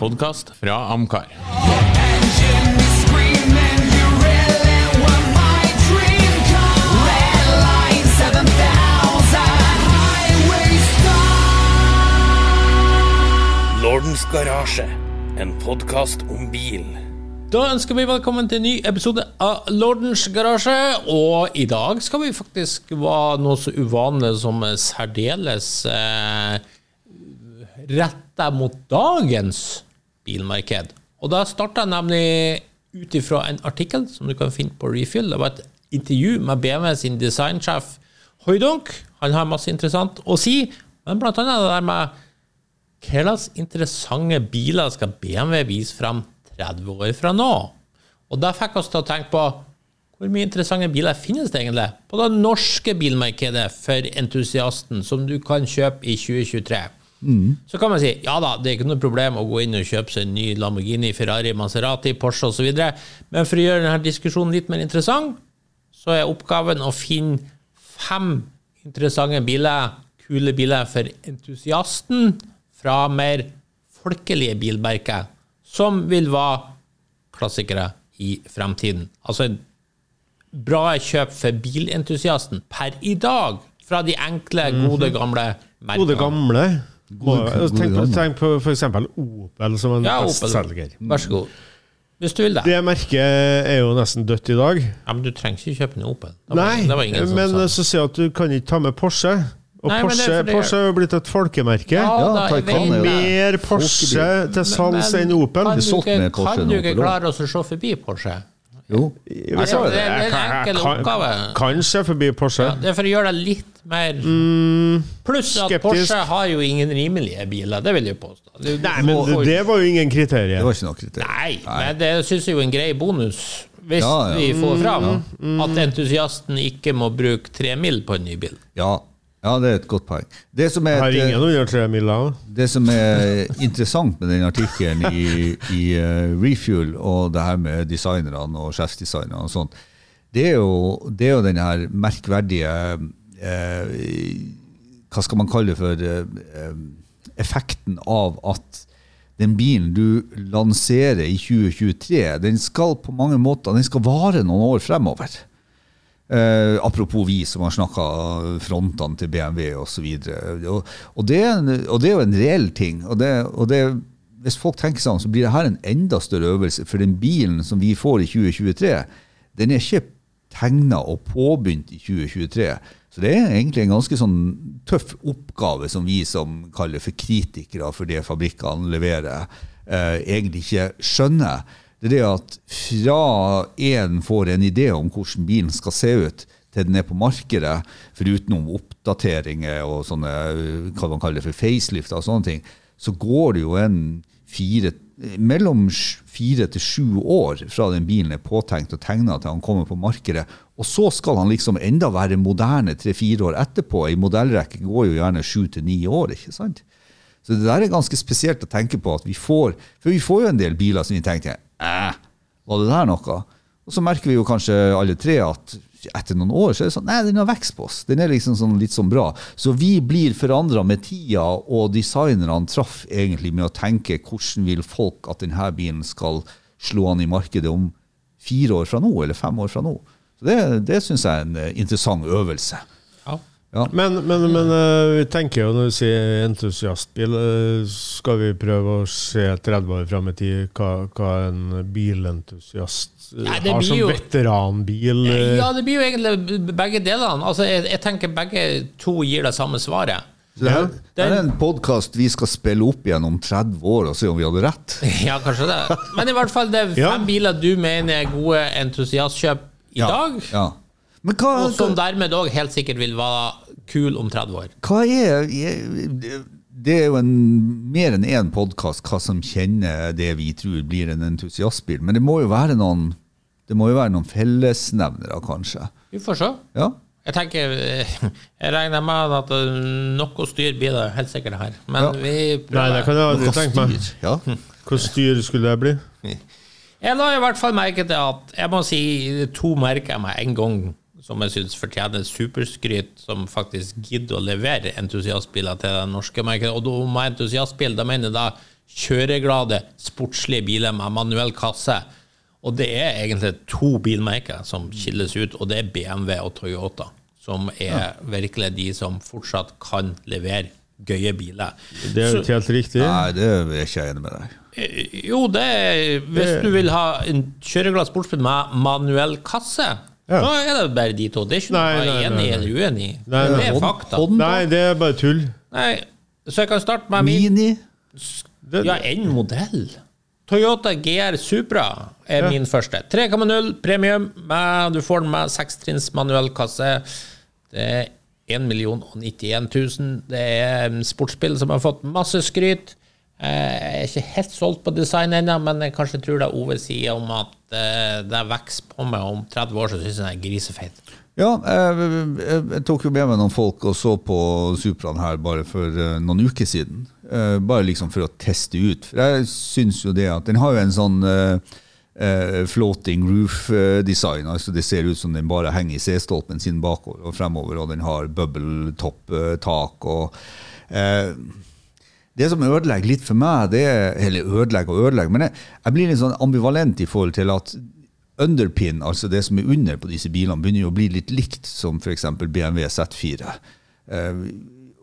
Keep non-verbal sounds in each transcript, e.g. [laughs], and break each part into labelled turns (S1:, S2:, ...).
S1: Podkast fra Amcar.
S2: Lordens Garasje, en podkast om bil.
S1: Da ønsker vi velkommen til en ny episode av Lordens garasje. Og i dag skal vi faktisk være noe så uvanlig som særdeles eh, retta mot dagens bilmarked. Og da starta jeg nemlig ut ifra en artikkel som du kan finne på Refuel. Det var et intervju med BMW sin designsjef Hoidunk. Han har masse interessant å si, men blant annet det der med hva slags interessante biler skal BMW vise frem 30 år fra nå? Og det fikk oss til å tenke på hvor mye interessante biler finnes det egentlig på det norske bilmarkedet for entusiasten som du kan kjøpe i 2023? Så kan man si ja da, det er ikke noe problem å gå inn og kjøpe seg en ny Lamborghini, Ferrari, Maserati, Porsche osv., men for å gjøre denne diskusjonen litt mer interessant, så er oppgaven å finne fem interessante biler, kule biler for entusiasten fra mer folkelige bilmerker, som vil være klassikere i fremtiden. Altså en bra kjøp for bilentusiasten per i dag, fra de enkle, gode, gamle
S3: Gode
S1: merkene.
S3: gamle. Og
S4: Gode- gode
S3: Tenk på,
S4: gamle.
S3: tenk på f.eks. Opel som en
S1: Ja, Opel.
S3: bestselger.
S1: Vær så god. Hvis du vil det.
S3: Det merket er jo nesten dødt i dag.
S1: Ja, men du trenger ikke kjøpe en Opel. Det var,
S3: Nei,
S1: det var ingen som
S3: men eh,
S1: sa.
S3: så sier jeg at du kan ikke ta med Porsche. Og
S1: Nei, men det er
S3: Porsche,
S1: fordi-
S3: Porsche er jo blitt et folkemerke.
S4: Ja,
S1: da, jeg
S4: Taycan
S1: vet
S4: er jo-
S1: det.
S3: Mer Porsche
S4: Folkebil.
S3: til salgs
S1: Men
S3: enn Opel. sånn-
S1: Kan du
S4: solgt
S1: ikke,
S4: mer Porsche
S1: kan
S4: enn
S1: du ikke
S4: Opel, da.
S1: klare oss å se forbi Porsche?
S4: Jo.
S3: Jeg sa
S1: Altså, det er-
S3: det.
S1: det er en
S3: Jeg kan- jeg
S1: enkel
S3: kan-
S1: oppgave.
S3: Kan se forbi Porsche.
S1: Det er for å gjøre deg litt mer Pluss at
S3: Mm. skeptisk.
S1: Porsche har jo ingen rimelige biler, det vil jeg påstå. Du-
S3: Nei, men
S1: du får-
S3: det var jo ingen kriterier.
S4: Det var ikke noe kriterium.
S1: Nei, men det syns jeg er jo en grei bonus, hvis
S4: Ja, ja.
S1: vi får fram at entusiasten ikke må bruke tre mil på en ny bil.
S4: Ja. ja, det er et godt poeng. Det som er,
S3: Har
S4: et, eh,
S3: ingen under tre miller.
S4: det som er interessant med den artikkelen i, i eh, Refuel og det her med designerne og sjefsdesignerne og sånt, det er jo, det er jo den her merkverdige eh, Hva skal man kalle det for eh, eh, Effekten av at den bilen du lanserer i 2023, den skal på mange måter den skal vare noen år fremover. Eh, apropos vi som har snakka frontene til BMW osv. Og, og, det er en- og det er jo en reell ting. Og det, og det, hvis folk tenker sånn, så blir det her en enda større øvelse. For den bilen som vi får i 2023, den er ikke tegna og påbegynt i 2023. Så det er egentlig en ganske sånn tøff oppgave som vi som kaller for kritikere for det fabrikkene leverer, eh, egentlig ikke skjønner. Det er det at fra en får en idé om hvordan bilen skal se ut, til den er på markedet, foruten om oppdateringer og sånne, eh, hva man kaller for facelift og sånne ting, så går det jo en fire, mellom sj- fire til sju år fra den bilen er påtenkt og tegna til han kommer på markedet. Og så skal han liksom enda være moderne tre-fire år etterpå. Ei modellrekke går jo gjerne sju til ni år, ikke sant? Så det der er ganske spesielt å tenke på at vi får For vi får jo en del biler som vi tenker Æh, var det der noe? Og så merker vi jo kanskje alle tre at etter noen år så er det sånn Nei, den har vekst på oss. Den er liksom sånn, litt sånn bra. Så vi blir forandra med tida, og designerne traff egentlig med å tenke hvordan vil folk at denne bilen skal slå an i markedet om fire år fra nå, eller fem år fra nå. Så det, det syns jeg er en eh, interessant øvelse.
S1: Ja.
S3: Men, men, men eh, vi tenker jo når vi sier entusiastbil, eh, skal vi prøve å se 30 år fram i tid hva, hva en bilentusiast eh,
S1: Nei, det
S3: har
S1: blir
S3: som
S1: jo-
S3: veteranbil. eh.
S1: Ja, det blir jo egentlig b- begge delene. Altså, jeg, jeg tenker begge to gir det samme svaret.
S4: Så det, her, det er
S1: Den-
S4: en podkast vi skal spille opp igjen om 30 år og se om vi hadde rett.
S1: Ja, kanskje det. Men i hvert fall det er
S4: [laughs]
S1: fem
S3: Ja.
S1: biler du mener er gode entusiastkjøp i dag,
S4: Ja. Men hva,
S1: og som
S4: hva,
S1: dermed òg helt sikkert vil være kul om 30 år.
S4: hva er jeg- Det er jo en, mer enn én podkast hva som kjenner det vi tror blir en entusiastbil, men det må jo være noen det må jo være noen fellesnevnere, kanskje.
S1: Vi får se.
S4: Ja,
S1: Jeg tenker, eh, jeg regner med at eh, noe styr blir det helt sikkert her. Men
S4: Ja.
S1: vi
S3: Nei, det kan jeg aldri tenke meg.
S4: Styr, ja.
S3: [laughs] Hvor styr skulle det bli?
S1: Jeg la i hvert fall merke til at jeg må si det er to merker jeg meg en gang som jeg syns fortjener superskryt, som faktisk gidder å levere entusiastbiler til det norske markedet. Og da med entusiastbil, da mener jeg da kjøreglade, sportslige biler med manuell kasse. Og det er egentlig to bilmerker som skilles ut, og det er BMW og Toyota. Som er virkelig de som fortsatt kan levere gøye biler.
S3: Det er jo ikke helt riktig.
S4: Nei, det er jeg ikke enig med deg.
S1: Eh, Jo, det er- Hvis du vil ha en kjøreglad sportsbil med manuell kasse,
S3: Ja.
S1: så er det bare de to. Det er ikke noe
S3: Nei,
S1: jeg
S3: nei,
S1: er
S3: nei,
S1: enig eller uenig i.
S3: Nei,
S1: Det er
S4: Hon-
S1: fakta.
S4: Honda,
S3: Nei, det er bare tull.
S1: Nei, så jeg kan starte med min
S4: Mini
S3: Det,
S1: Ja, en modell. Toyota GR Supra er min første. 3,0 premium. Med, du får den med sekstrinns manuell kasse. Det er 1 091 000. Det er en sportsbil som har fått masse skryt. Eh, Jeg er ikke helt solgt på design ennå, men jeg kanskje tror det Ove sier om at eh, det vokser på meg om 30 år, så syns jeg den er grisefeit.
S4: Ja, jeg, jeg, jeg tok jo med meg noen folk og så på Supraen her bare for eh, noen uker siden. Eh, bare liksom for å teste ut. For jeg syns jo det at den har jo en sånn eh, eh, floating roof-design. altså Det ser ut som den bare henger i C-stolpen sin bakover og fremover, og den har bubble-topp-tak og eh, det som ødelegger litt for meg, det er Eller ødelegger og ødelegger, men jeg, jeg blir litt sånn ambivalent i forhold til at underpin, altså det som er under på disse bilene, begynner jo å bli litt likt som f.eks. BMW Z4. Eh,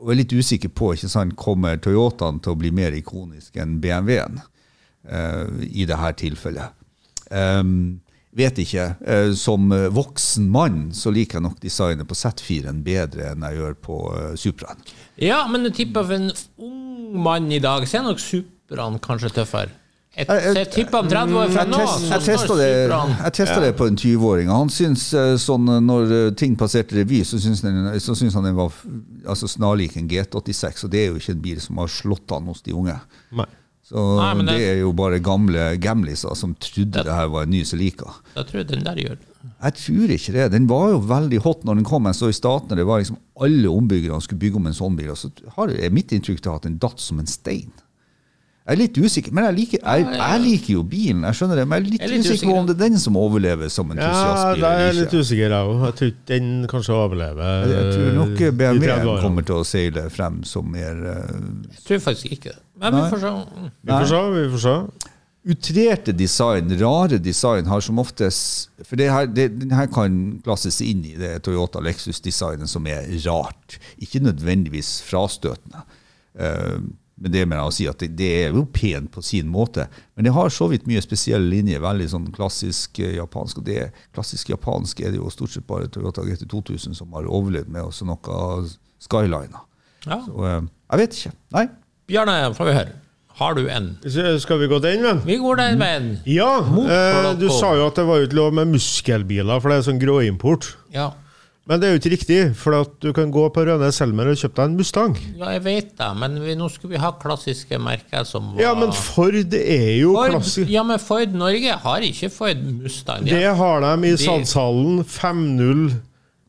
S4: og jeg er litt usikker på ikke sant, kommer Toyotaen til å bli mer ikonisk enn BMW-en eh, i det her tilfellet. Ehm, vet ikke. Eh, som eh, voksen mann så liker jeg nok designet på Z4-en bedre enn jeg gjør på eh, Supraen.
S1: Ja, men jeg tipper for en ung mann i dag, så er nok Supraen kanskje tøffere. Jeg,
S4: Jeg- jeg-
S1: jeg tipper om 30 år fra
S4: Jeg
S1: nå,
S4: test-
S1: så
S4: Jeg testa
S1: står
S4: det,
S1: Supraen
S4: jeg testet det på en 20-åring. og Han syns eh, sånn eh, når eh, ting passerte revy, så syns den- så syns han den var f- altså, snarlik en GT86. Og det er jo ikke en bil som har slått an hos de unge.
S3: nei.
S4: Så
S1: Nei, men
S4: det,
S1: det-
S4: er jo bare gamle gamliser som trodde det, her var en ny Celica.
S1: Da tror jeg den der gjør det.
S4: Jeg tror ikke det. Den var jo veldig hot når den kom. Jeg så i Statene det var liksom alle ombyggerne som skulle bygge om en sånn bil. Og så har, er mitt inntrykk til at den datt som en stein. Jeg er litt usikker, men jeg liker, jeg, jeg liker jo bilen. Jeg skjønner det, men jeg er litt,
S1: Jeg er litt
S4: usikker på om det er den som overlever som
S3: Ja,
S4: entusiastbil
S3: da er jeg
S4: eller
S3: litt
S4: ikke.
S3: usikker, jeg òg. Jeg tror ikke den kanskje overlever.
S4: Jeg tror nok
S3: eh, i 30
S4: BMW
S3: årene.
S4: kommer til å seile frem som mer eh,
S1: Jeg tror faktisk ikke det. Men vi
S4: Nei.
S1: får se.
S3: Vi får se, vi får se.
S4: utrerte design, rare design, har som oftest For det her, det, den her kan klasses inn i det Toyota Lexus-designet som er rart. Ikke nødvendigvis frastøtende. Eh, men det mener jeg å si at det, det er jo pent på sin måte. Men det har så vidt mye spesielle linjer. Veldig sånn klassisk eh, japansk. Og det klassisk japansk er det jo stort sett bare Toyota GT2000 som har overlevd med også noe skyliner.
S1: Ja.
S4: Og, eh, jeg vet ikke. Nei.
S1: Bjarne, får vi høre. Har du en?
S3: Så Skal vi gå den veien?
S1: Vi går
S4: Mm.
S1: den veien.
S3: Ja! Eh,
S1: Motorlokko.
S3: du sa jo at det var jo ikke lov med muskelbiler, for det er sånn gråimport.
S1: Ja.
S3: Men det er jo ikke riktig, for at du kan gå på Rønne Selmer og kjøpe deg en Mustang.
S1: ja, jeg vet det, men vi, nå skulle vi ha klassiske merker som var
S3: Ja, men Ford er jo
S1: Ford,
S3: klassisk.
S1: ja, men Ford Norge har ikke Ford Mustang.
S3: Det
S1: Ja,
S3: har de i
S1: De-
S3: salgshallen. 5-0.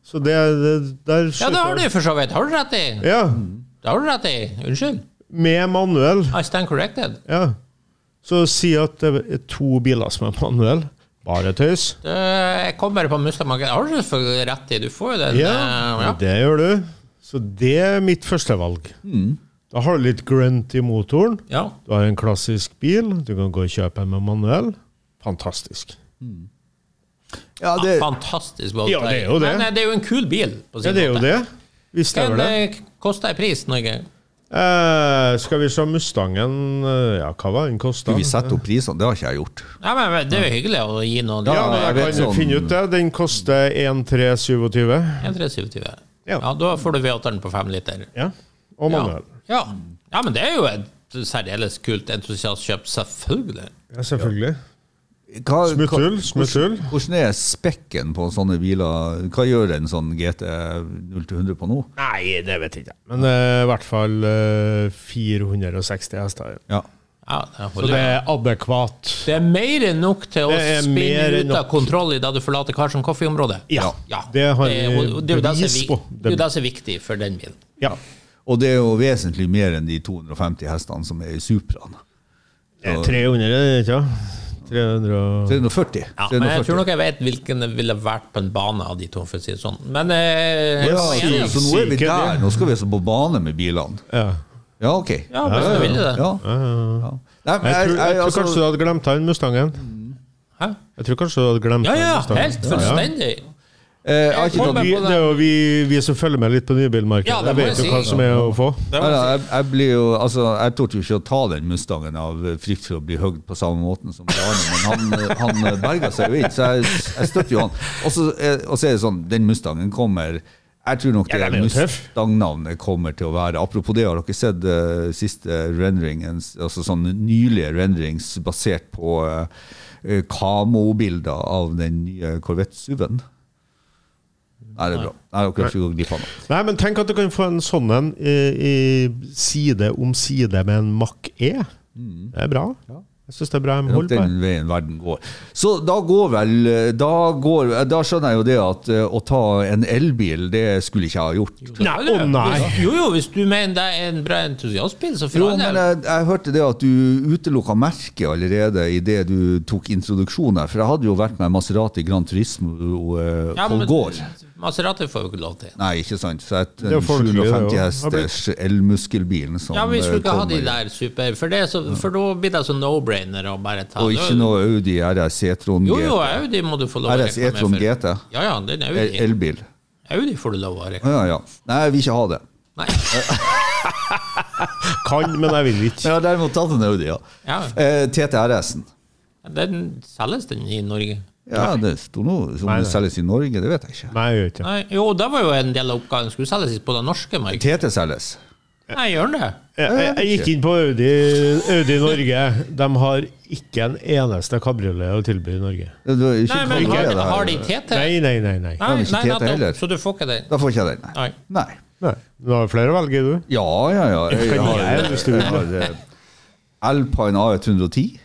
S3: Så det, det der
S1: ja det har
S3: slutter-
S1: du for så vidt. Har du rett i?
S3: Ja.
S1: Det har du rett i. Unnskyld.
S3: Med manuell.
S1: I stand corrected.
S3: Ja. Så si at det er to biler som er manuell. Bare tøys.
S1: Det, eh, jeg kom bare på Mustang-markedet. Har du selvfølgelig rett i? Du får jo den.
S3: Ja,
S1: eh, ja.
S3: det gjør du. Så det er mitt førstevalg. Da har du litt grunt i motoren.
S1: ja.
S3: Du har en klassisk bil. Du kan gå og kjøpe en med manuell. Fantastisk.
S4: Ja, det,
S1: Fantastisk båt.
S3: Ja, det er jo det.
S1: Men eh, det er jo en kul bil. På sin
S3: Ja, det er jo
S1: måte.
S3: det. Hvis det
S1: Hva
S3: er det.
S1: eh, koster ei pris, Norge?
S3: Eh, skal vi se Mustangen eh, Ja, hva var den kosta?
S4: skal vi sette opp prisene? Det har ikke jeg gjort.
S1: Nei, men Det er jo hyggelig å gi noen
S3: Ja,
S4: Ja,
S3: men jeg
S4: jeg
S3: kan
S4: vet sånn-
S3: finne ut det. Den koster 1327.
S1: 1,327.
S3: Ja.
S1: Ja. da får du V8-en på fem liter.
S3: Ja. Og manuell.
S1: Ja. ja, men det er jo et særdeles kult entusiastkjøp, selvfølgelig.
S3: Ja, selvfølgelig.
S4: Hva,
S3: Smutthull,
S4: hva-
S3: smutthull.
S4: Hvordan, hvordan er spekken på sånne biler? Hva gjør en sånn GT 0-100 på nå?
S3: Nei, det vet jeg ikke. Men eh, i hvert fall eh, 460 hester.
S4: Ja.
S1: Ja, det,
S3: Så
S1: holder.
S3: det
S1: det,
S3: er adekvat.
S1: det er mer enn nok til å
S3: Det er
S1: spinne
S3: mer enn
S1: ut av
S3: nok.
S1: kontroll i da du forlater Karsten Coffee-området.
S3: Ja.
S1: Ja,
S3: Det har
S1: er jo- det er jo det som er
S3: bevis
S1: vi-
S3: på.
S1: det er jo det som er viktig for den bilen.
S3: Ja.
S4: Og det er jo vesentlig mer enn de 250 hestene som er i Supraen.
S3: Det er 300, er det ikke? 300 og
S4: 340.
S1: Ja, men jeg
S4: 340.
S1: tror nok jeg vet hvilken det ville vært på en bane av de to, for å si det sånn. Men eh,
S4: ja,
S1: jeg er
S4: så,
S1: enig.
S4: så nå er vi
S3: Sikkert, ja.
S4: der. Nå skal vi altså på bane med bilene.
S3: ja.
S4: Ja, ok.
S1: Ja, hvis du vil det.
S4: Ja.
S3: ja.
S4: Ja. Nei,
S3: Jeg tror, jeg
S4: men jeg, jeg,
S3: tror
S4: altså,
S3: kanskje du hadde glemt han Mustangen.
S1: Hæ?
S3: Jeg tror kanskje du hadde glemt
S1: Ja, ja,
S3: han Mustangen.
S1: helt fullstendig.
S4: eh, jeg har ikke
S3: Og
S1: Kom med
S4: tatt
S3: Vi, det er jo vi, vi som følger med litt på nybilmarkedet,
S1: Ja, det må
S3: vet
S1: jeg
S3: jo hva
S1: si.
S3: som er å få.
S4: Nei, nei, jeg, jeg, blir jo, altså, jeg torde jo ikke å ta den Mustangen av eh, frykt for å bli høgd på samme måten som Arne, men han, eh, han eh, berga seg jo inn, så jeg, jeg støtter jo han. Og så eh, og så er det sånn, den Mustangen kommer Jeg tror nok
S3: Ja,
S4: det
S3: den er jo tøff.
S4: Mustang-navnet kommer til å være Apropos det, har dere sett eh, siste renderingen, altså sånne nylige renderings basert på eh, eh, Kamo-bilder av den nye Corvette Suven? Nei, det er bra. Nei, dere har ikke gått glipp av noe.
S3: Nei, men tenk at du kan få en sånn en i, i side om side med en Mack E.
S1: Mm.
S3: Det er bra. Jeg syns det er bra de
S4: Det er nok
S3: holder på.
S4: den veien verden går. Så da går vel eh, Da, går, da skjønner jeg jo det at eh, å ta en elbil, det skulle ikke jeg ha gjort.
S3: Nei, å nei!
S1: Hvis- Jo, jo, hvis du mener det er en bra entusiastbil, så
S4: Jo,
S1: for all
S4: men eh,
S1: del.
S4: jeg, jeg hørte det at du utelukka merket allerede idet du tok introduksjonen her, for jeg hadde jo vært med Maserati Grand Turismo eh,
S1: Ja, men-
S4: på gård.
S1: Maserati får jo ikke lov til.
S4: Nei, ikke sant. Så et,
S3: er
S4: en
S3: folkelig, det
S4: 750
S3: også.
S4: hesters elmuskelbilen som
S1: Ja, men vi skulle
S4: eh,
S1: ikke ha de
S4: kommer.
S1: der super, for, det er så, for da blir det så no-brainer å bare ta
S4: Og ikke noe Audi E RS E-tron
S1: Jo, jo,
S4: GT.
S1: Audi må du få lov å
S4: RS
S1: reklamere
S4: E-tron
S1: for.
S4: GT.
S1: Ja, ja, den er
S4: El-
S1: Audi.
S4: Elbil.
S1: Audi får du lov å reklamere
S4: Ja, ja. Nei, jeg vil ikke ha det.
S1: Nei.
S3: Kan, men jeg vil ikke.
S4: Jeg har derimot tatt en Audi, ja.
S1: Ja,
S4: Eh, TTRS-en.
S1: den selges den i Norge.
S4: Ja, det sto noe som
S3: Nei, nei.
S4: selges i Norge, det vet jeg ikke.
S3: Nei, jeg gjør ikke det.
S1: Nei, jo, det var jo en del av oppgaven. Skulle selges på det norske markedet.
S4: TT selges.
S1: Nei, gjør den det?
S3: Jeg, jeg, jeg gikk inn på Audi, Audi Norge. De har ikke en eneste kabriolet å tilby i Norge.
S4: Det er
S1: Nei,
S4: ikke
S1: men
S4: konkurrere,
S1: har,
S4: det her.
S1: har de TT?
S3: Nei, nei, nei. nei.
S1: Nei,
S4: men ikke
S1: nei,
S4: TT
S1: nettopp,
S4: heller.
S1: så du får ikke den?
S4: Da får ikke jeg den, nei.
S1: Nei.
S4: nei.
S3: nei. Du har flere å velge i, du.
S4: Ja, ja, ja. Jeg,
S3: Kan
S4: har,
S3: jeg, hvis du vil.
S4: jeg har eh, Alpine A110.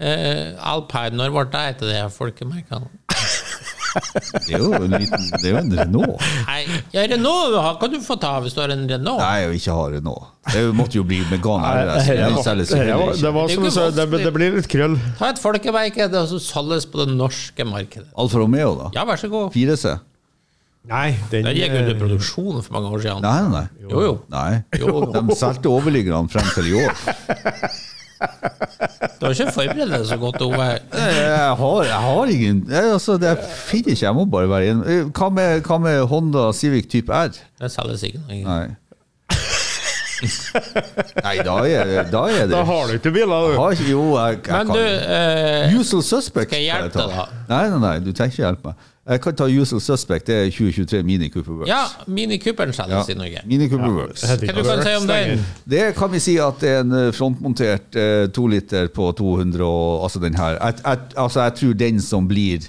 S1: Eh, Alpine, når ble det etter det folkemerket?
S4: Det er jo en liten Det er jo en Renault.
S1: Nei, ja, Renault har- kan du få ta hvis du har en Renault.
S4: Nei, jeg vil ikke ha Renault. Det måtte jo bli Megane RS. men Den selges jo
S3: Det var, det
S4: heller ikke.
S3: var
S1: Det er
S3: som
S1: jo
S3: jeg sa,
S1: ikke
S3: det, det blir litt krøll.
S1: Ta et folkemerke det som selges på det norske markedet.
S4: Alfa Romeo, da?
S1: Ja, vær så god.
S4: 4C?
S3: Nei, den
S1: Den gikk ut i
S3: eh,
S1: produksjon for mange år siden.
S4: Nei, nei.
S1: Jo, jo.
S4: Nei,
S1: Jo.
S4: De solgte overliggerne frem til i år.
S1: Du har ikke forberedt deg så godt, Ove.
S4: Jeg jeg har, jeg har ingen jeg, altså, Det finner ikke, jeg må bare være en Eh, Hva med, hva med Honda Civic type R?
S1: Det selges ikke noe.
S4: Nei. Nei, da er, da er det
S3: Da har du ikke biler,
S4: Jeg
S3: du.
S4: har ikke- Jo, jeg, jeg
S1: Men
S4: kan
S1: du, eh,
S4: Usual Suspect.
S1: Skal jeg hjelpe
S4: kan ta.
S1: deg
S4: Nei, nei, nei, du trenger ikke hjelpe meg. Jeg kan ta Usual Suspect. Det er 2023 Mini Cooper Works.
S1: ja, Mini Cooperen selges i Norge.
S4: Mini Cooper Works.
S3: Jeg heter
S1: Hva du
S3: ikke
S1: kan si om
S3: Stenger.
S1: den?
S4: Det kan vi si at det er en eh, frontmontert eh, to liter på 200 og altså den her. Jeg, jeg, altså jeg tror den som blir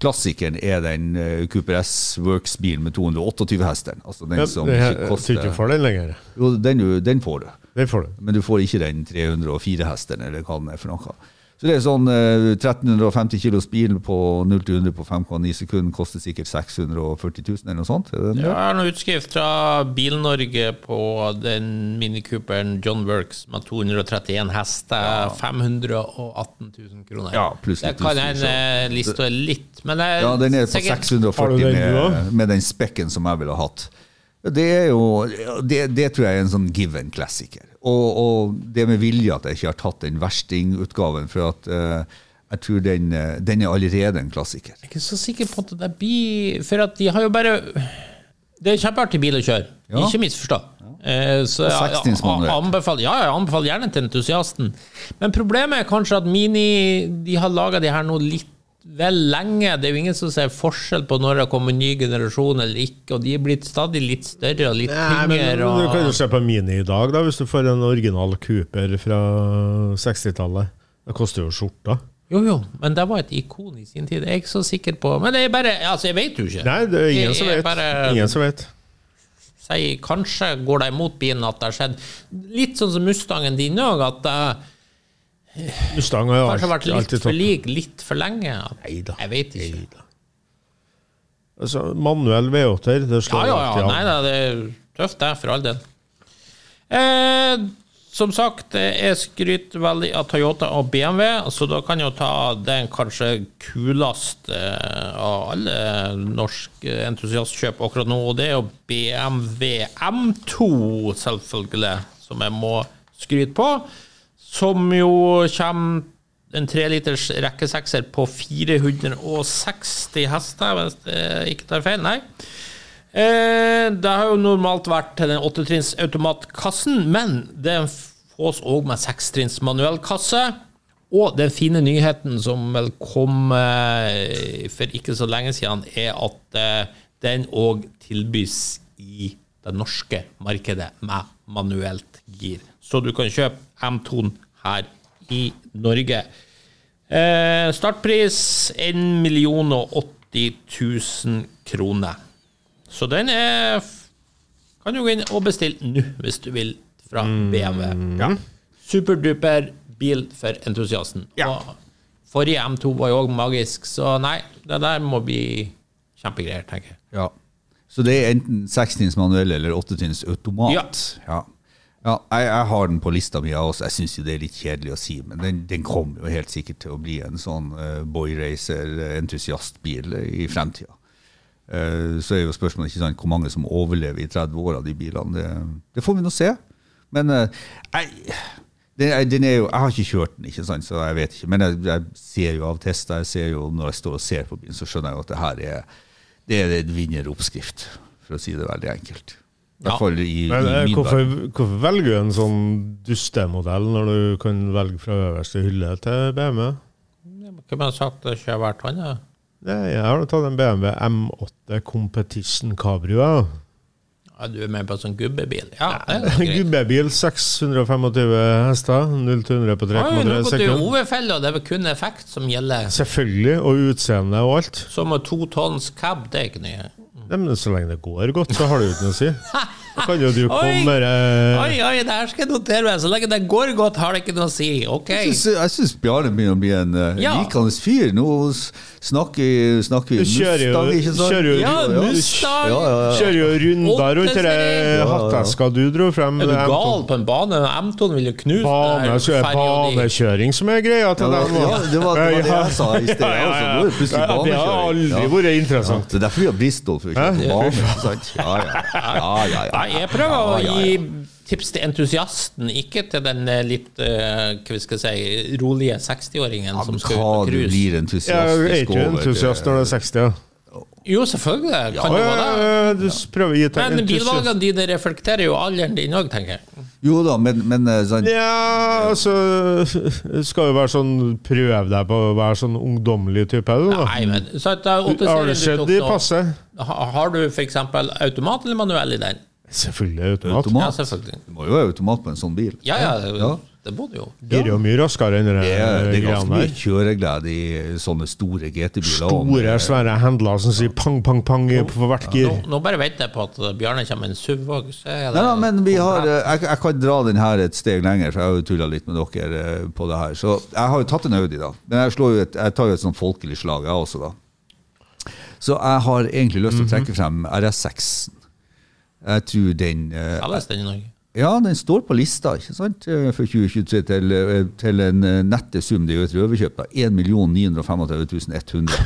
S4: klassikeren, er den eh, Cooper S Works-bilen med 228 hester. Altså den
S3: Ja,
S4: som
S3: det her- Jeg
S4: ikke
S3: tror ikke du
S4: koster
S3: får den lenger.
S4: Jo, den, du- den får du.
S3: Det får du.
S4: Men du får ikke den 304 hesteren, eller hva den er for noe. Så det er sånn eh, 1350 kilos bil på 0 til 100 på 5,9 sekunder koster sikkert 640 000 eller noe sånt. Er det den
S1: Jeg
S4: der?
S1: har noe utskrift fra Bil-Norge på den Mini Cooperen John Works med 231 hester. 518 000 kroner.
S4: Ja, pluss
S1: det
S4: litt
S1: kan
S4: utstyr,
S1: hende lista er litt, men det er
S4: Ja, den er på
S1: sikkert-
S3: Har du den
S4: 640
S3: du
S4: med,
S3: også?
S4: med den spekken som jeg ville hatt. Det er jo Det, det tror jeg er en sånn given klassiker. Og, og det med vilje at jeg ikke har tatt den verstingutgaven, for at eh, jeg tror den, eh, den er allerede en klassiker.
S1: Jeg er ikke så sikker på at det blir For at de har jo bare Det er en kjempeartig bil å kjøre,
S4: Ja.
S1: ikke misforstå. Eh, Så jeg jeg-
S4: Sekstinsmanuell.
S1: jeg anbefaler, ja, jeg anbefaler gjerne til entusiasten. Men problemet er kanskje at Mini De har laga de her nå litt vel lenge. Det er jo ingen som ser forskjell på når det kommer en ny generasjon eller ikke, og de er blitt stadig litt større og litt
S3: Nei, men
S1: tyngre.
S3: Du kan jo
S1: Og...
S3: se på Mini i dag, da, hvis du får en original Cooper fra 60-tallet. Det koster jo skjorta.
S1: Jo, jo, men det var et ikon i sin tid. Jeg er ikke så sikker på Men det er bare Altså, jeg vet jo ikke.
S3: Nei, det er ingen
S1: Jeg
S3: som
S1: er
S3: vet.
S1: bare-
S3: Ingen som vet.
S1: sier kanskje går det imot bilen at det har skjedd. Litt sånn som Mustangen din òg, at det
S3: Mustang har jo
S1: kanskje har vært
S3: alltid,
S1: litt
S3: alltid
S1: for
S3: tatt
S1: lik litt for lenge. At, jeg vet ikke.
S3: altså, Manuell V8-er, det
S1: Ja,
S3: slår
S1: ja,
S3: alltid
S1: ja.
S3: an.
S1: Nei da, det er tøft, det, for all del. Eh, Som sagt, jeg skryter veldig av Toyota og BMW, så da kan jeg jo ta den kanskje kuleste av alle norske entusiastkjøp akkurat nå, og det er jo BMW M2, selvfølgelig, som jeg må skryte på. Som jo kommer en 3-liters rekkesekser på 460 hester, hvis jeg ikke tar feil. Nei. Eh, Det har jo normalt vært til den åttetrinns automatkassen, men den fås òg med sekstrinns manuellkasse. Og den fine nyheten som vel kom eh, for ikke så lenge siden, er at eh, den òg tilbys i det norske markedet med manuelt gir. Så du kan kjøpe M2-en her i Norge. Eh, startpris 1 80 000 kroner. Så den er f- kan du gå inn og bestille nå, hvis du vil, fra BMW.
S3: Mm, Ja.
S1: Superduper bil for entusiasten.
S3: Ja.
S1: Og forrige M2 var jo òg magisk, så nei, det der må bli kjempegreier, tenker jeg.
S4: Ja. Så det er enten sekstrinns manuell eller åttetrinns automat.
S1: Ja.
S4: Ja. Ja, jeg, jeg har den på lista mi, jeg også. Jeg syns det er litt kjedelig å si, men den, den kommer jo helt sikkert til å bli en sånn eh, boyracer-entusiastbil i fremtida. Eh, så er jo spørsmålet ikke sant, hvor mange som overlever i 30 år av de bilene. Det, det får vi nå se. Men eh, jeg, den, er- den er jo, jeg har ikke kjørt den, ikke sant, så jeg vet ikke. Men jeg, jeg ser jo av tester, jeg ser jo når jeg står og ser på bilen, så skjønner jeg jo at det her er, det er en vinneroppskrift, for å si det veldig enkelt. I
S1: Ja.
S4: hvert fall i,
S3: Men,
S4: i
S3: eh,
S4: min
S3: hvorfor, hvorfor velger du en sånn dustemodell når du kan velge fra øverste hylle til BMW?
S1: Hvem har sagt det ikke har vært han? da?
S3: Nei, jeg har nå tatt en BMW M8 Competition Cabrio. jeg.
S1: Ja, du er med på en sånn gubbebil? Ja, det er greit.
S3: Gubbebil, 625 hester, 0 til 100 på
S1: Oi, nå
S3: 3,3
S1: går det
S3: sekunder.
S1: overfelle, og det er vel kun effekt som gjelder.
S3: Selvfølgelig, og utseende og alt.
S1: Som med to tonns cab, det er ikke nye.
S3: Nei, men så lenge det går godt, så har det jo ikke noe å si. Da kan jo du
S1: [laughs] Oi.
S3: komme med eh,
S1: Oi, oi, det her skal jeg notere meg. Så lenge det går godt, har det ikke noe å si. OK.
S4: Jeg syns- Jeg syns Bjarne begynner å bli en eh,
S1: Ja.
S4: likende fyr. Nå s- snakker, snakker vi
S3: Du kjører jo-
S4: ikke sant?
S3: kjører jo-
S1: Ja,
S4: ja.
S1: Mustang!
S4: Ja, ja, ja.
S3: Kjører jo runder rundt den
S1: Åttesteg.
S3: hatteska du dro frem.
S1: Er du
S3: M2.
S1: gal på en bane? M2 vil jo knuse
S3: Bane, så er banekjøring som er greia til
S4: Ja,
S3: dem.
S4: ja, det var- det var det jeg sa i sted, altså. Nå er det plutselig
S3: Ja, Det har
S4: banekjøring.
S3: aldri
S4: Ja.
S3: vært sånn. interessant.
S4: Det er derfor vi har Bristol, for å kjøre på bane. ikke sant? Ja, ja. ja, ja, ja.
S1: Nei, jeg prøver å
S4: Ja, ja, ja.
S1: gi tips til entusiasten, ikke til den eh, litt eh, hva vi skal si, rolige 60-åringen
S4: Ja,
S1: som
S4: men
S1: skal ut
S4: Hva
S1: og
S4: du
S1: cruise.
S4: blir
S3: Jeg er
S4: entusiastisk
S3: ikke
S4: over
S3: entusiast når det er 60. Ja.
S1: Jo, selvfølgelig kan
S3: Ja,
S1: det
S3: ja,
S1: være det.
S3: ja, du s- prøver å gi deg
S1: Men
S3: entusiast.
S1: bilvalgene dine reflekterer jo alderen din òg, tenker jeg.
S4: Jo da, men, men eh, sånn
S3: Ja, altså det Skal jo være sånn Prøv deg på å være sånn ungdommelig type. du, da.
S1: Nei, men så at, eh, åtte
S3: Har det
S1: serien
S3: skjedd
S1: du
S3: i
S1: tok nå,
S3: passe?
S1: ha- Har du f.eks. automat eller manuell i den?
S3: Selvfølgelig automat.
S1: Ja,
S4: automat
S1: selvfølgelig.
S4: Du må jo ha automat på en sånn bil.
S1: Ja, ja,
S4: Ja.
S1: det må du jo.
S3: Girer jo mye raskere enn det
S4: Det er, det er
S3: greiene
S4: ganske mye
S3: der.
S4: kjøreglede i sånne store GT-biler.
S3: Store, svære handler som sier pang, pang, pang på hvert gir.
S1: Nå, nå bare venter jeg på at Bjarne kommer med en SUV òg.
S4: Nei, nei, men vi har, eh, jeg, jeg kan dra den her et steg lenger, for jeg har jo tulla litt med dere eh, på det her. Så jeg har jo tatt en Audi, da. Men jeg, slår jo et, jeg tar jo et sånn folkelig slag, jeg også, da. Så jeg har egentlig lyst til
S1: Mhm.
S4: å trekke frem RS6. Jeg tror den eh,
S1: Selges den i Norge?
S4: Ja, den står på lista, ikke sant, eh, for 2023 til, eh, til en eh, nette sum. Det er jo et røverkjøp, da. 1 935
S1: [laughs]
S4: 100.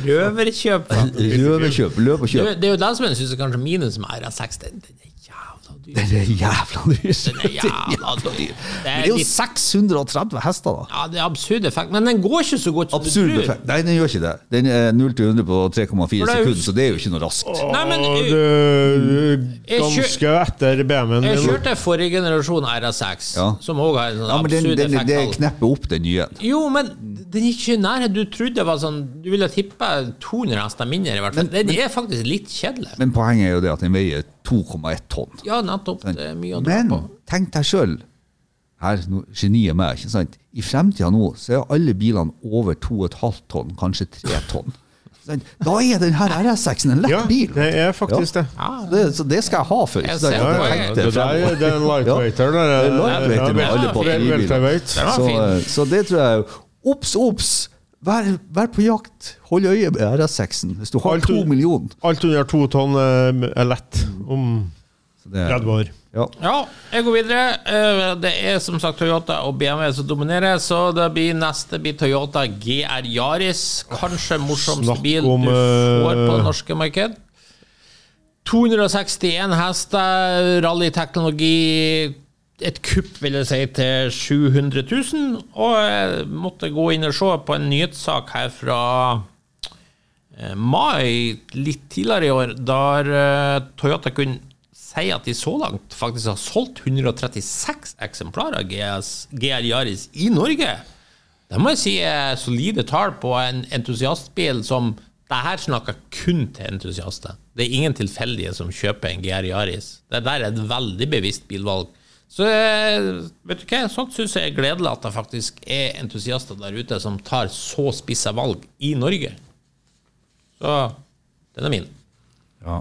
S1: Røverkjøp. faen.
S4: [laughs] Røverkjøp, løp og
S1: Det
S4: kjøp.
S1: er jo den som jeg syns er kanskje minus med RS6. Den, den er jævla
S4: [laughs]
S1: dyr.
S4: Den er jævla dyr.
S1: Den er jævla dyr. Det
S4: Men
S1: er
S4: det er jo
S1: litt,
S4: 630 hester, da.
S1: ja, det er absurd effekt, men den går ikke så godt som
S4: Absurd
S1: du tror.
S4: effekt. Nei, den gjør ikke det. Den er 0 til 100 på 3,4
S1: For det er jo-
S4: sekunder, så det er jo ikke noe raskt.
S1: Nei, men
S3: Og
S1: jeg,
S3: du,
S1: Jeg kjø-
S3: ganske etter BMW-en
S1: jeg
S3: din.
S1: kjørte forrige generasjon RS6,
S4: Ja.
S1: som òg har en sånn
S4: Ja, men den,
S1: absurd
S4: den, det
S1: effekt.
S4: knepper opp den nye.
S1: Jo, men den gikk ikke i nærheten. Du trodde det var sånn Du ville tippe 200 hester mindre, i hvert fall. Den er faktisk litt kjedelig.
S4: Men poenget er jo det at den veier 2,1 tonn.
S1: Ja, nettopp. Det er mye å dra
S4: Men
S1: på.
S4: tenk deg sjøl, her nå, geniet meg, ikke sant. I fremtida nå så er alle bilene over 2,5 tonn, kanskje 3 tonn. Ikke sant? Da er den her RS6-en en lett
S3: Ja,
S4: bil.
S3: det er faktisk
S4: Ja.
S3: det.
S4: Så det. Så det skal jeg ha for.
S1: Jeg
S4: ikke sant?
S1: ser
S4: At
S1: på
S4: jeg
S1: det.
S4: tenkte
S3: Det der
S4: fremover.
S3: det er en lightweighter. Det
S4: Det er lightweighter med
S1: alle
S4: batteribiler.
S1: Den var
S4: Så, eh,
S1: fin.
S4: så det tror jeg Ops, ops! Vær, vær på jakt. Hold øye med RS6-en hvis du har
S3: Alt
S4: to
S3: du-
S4: millioner.
S3: Alt under to tonn eh, er lett. Om
S4: Så Så det,
S3: 30 år.
S4: ja.
S1: Ja, jeg går videre. Eh, Det er som sagt Toyota og BMW som dominerer, så det blir neste blir Toyota GR Yaris. Kanskje morsomste
S3: Snakk
S1: bil
S3: om,
S1: du får på
S3: eh,
S1: det norske marked. 261 hester, rallyteknologi, et kupp, vil jeg si, til 700 000. Og jeg måtte gå inn og se på en nyhetssak her fra eh, mai litt tidligere i år, der eh, Toyota kunne si at de så langt faktisk har solgt 136 eksemplarer av GS, GR Yaris i Norge. Det må jeg si er solide tall på en entusiastbil som det her snakker kun til entusiaster. Det er ingen tilfeldige som kjøper en GR Yaris. Det der er et veldig bevisst bilvalg. Så eh, vet du hva, sånt syns jeg er gledelig at det faktisk er entusiaster der ute som tar så spissa valg i Norge. Så den er min.
S4: ja.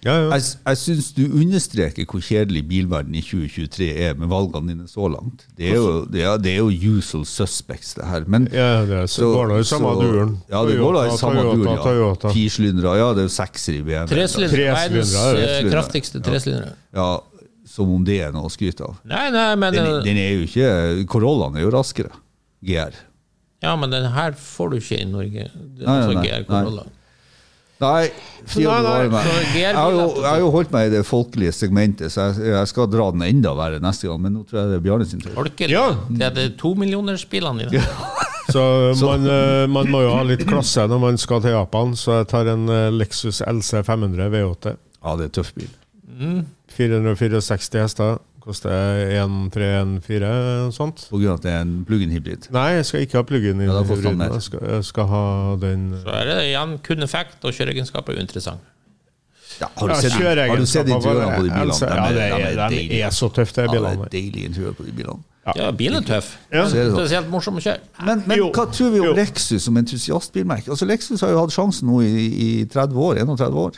S3: Ja, ja.
S4: Jeg, jeg syns du understreker hvor kjedelig bilverden i 2023 er med valgene dine så langt. Det er jo, det er, det er jo usual suspects, det her. Men,
S3: Ja, det er- går da i samme duren.
S4: Ja, det går da i
S3: Toyota,
S4: samme
S3: Toyota,
S4: duren, ja.
S3: Toyota.
S4: Tisylindere, ja, det er jo sekser i BMW.
S1: Tresylindere.
S3: Tresylindere,
S1: Verdens eh,
S4: tresylindere.
S1: kraftigste tresylindere.
S4: Ja, som om det er noe å skryte av.
S1: Nei, nei, men
S4: Den,
S1: eh,
S4: den er jo ikke Corollaen er jo raskere. GR.
S1: Ja, men den her får du ikke i Norge. Det er
S4: Nei,
S1: altså
S4: nei,
S1: GR
S4: nei.
S1: Corolla.
S4: Nei, fy å
S3: Nei, nei,
S4: bevare meg.
S1: så GR
S4: Jeg har jo-
S1: blir lett å
S4: jeg har jo holdt meg i det folkelige segmentet, så jeg, jeg skal dra den enda verre neste gang. Men nå tror jeg det er Bjarne sin tur.
S1: Folkelig.
S3: Ja.
S1: Det er de tomillionersbilene dine.
S3: Så man, eh, man må jo ha litt klasse når man skal til Japan, så jeg tar en eh, Lexus LC 500 V8.
S4: Ja, det er tøff bil.
S3: 464 hester. Koster 1314, noe sånt.
S4: På grunn av at det er en plug-in hybrid.
S3: Nei, jeg skal ikke ha pluggen inn
S4: Ja, da får
S3: hybriden.
S4: den mer.
S3: Jeg skal, jeg skal ha den
S1: Så er det igjen kun effekt og kjøreegenskap er uinteressant.
S4: Ja, har du sett,
S3: kjøreegenskaper
S4: har du sett interiørene på de bilene?
S3: Altså, ja, det er- de er
S4: deilige.
S3: så tøffe, de
S4: Ja,
S3: bilene.
S4: det er deilige interiør på de bilene.
S1: Ja, bilen er tøff.
S3: Ja.
S1: Men
S4: Så er det sånn.
S1: Spesielt morsom å kjøre.
S4: Men, men
S3: Jo,
S4: hva tror vi om
S3: jo.
S4: Lexus som entusiastbilmerke? Altså, Lexus har jo hatt sjansen nå i, i 30 år, 31 år.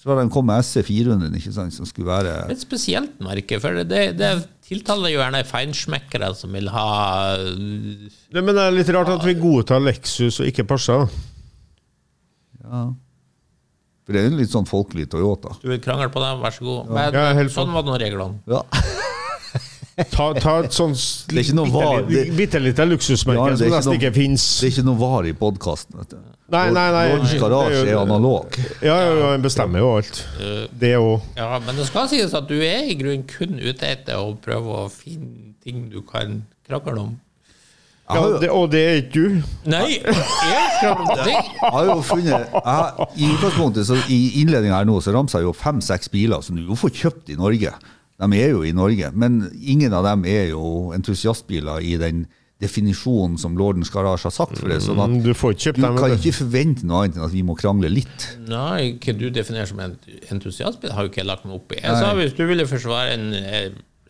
S4: Så har de kommet med SC400, ikke sant, som skulle være
S1: Et spesielt merke, for det, det tiltaler jo gjerne feinschmeckere som vil ha
S3: Nei, Men det er litt rart at vi godtar Lexus og ikke Porsche. da.
S4: For det er jo en litt sånn folkelig Toyota.
S1: Du vil krangle på dem, vær så god. Men
S3: Ja, jeg holder på.
S1: sånn var nå reglene.
S4: Ja.
S3: Ta, ta et sånt s-
S4: [laughs] Det er ikke noe var-
S3: bitte-
S4: det-
S3: bitte lite
S4: Ja,
S3: luksusmerke
S4: det er
S3: som
S4: ikke
S3: nesten
S4: noe-
S3: ikke fins.
S4: Det er ikke noe var i podkasten, vet du.
S3: Nei, nei, nei.
S4: Lords garasje
S3: Det er
S4: er
S3: jo-
S4: analog.
S3: Ja, ja, ja, en bestemmer jo alt. Det òg.
S1: Ja, men det skal sies at du er i grunnen kun ute etter å prøve å finne ting du kan krangle om.
S4: Jeg har
S3: Ja,
S4: jo-
S3: det- og det er ikke du.
S1: [laughs] Nei! Jeg krangler om
S4: [laughs]
S1: ting!
S4: Jeg har jo funnet jeg, har- I utgangspunktet, så i innledningen her nå, så ramser jeg jo fem-seks biler som du jo får kjøpt i Norge. De er jo i Norge, men ingen av dem er jo entusiastbiler i den definisjonen som Lordens Garasje har sagt for det. Sånn at
S3: Du får ikke kjøpt
S4: du
S3: dem.
S4: kan
S3: vet du.
S4: ikke forvente noe annet enn at vi må krangle litt.
S1: Nei, hva du definerer som en entusiastbil, har jo ikke jeg lagt meg opp i. Jeg sa hvis du ville forsvare en eh,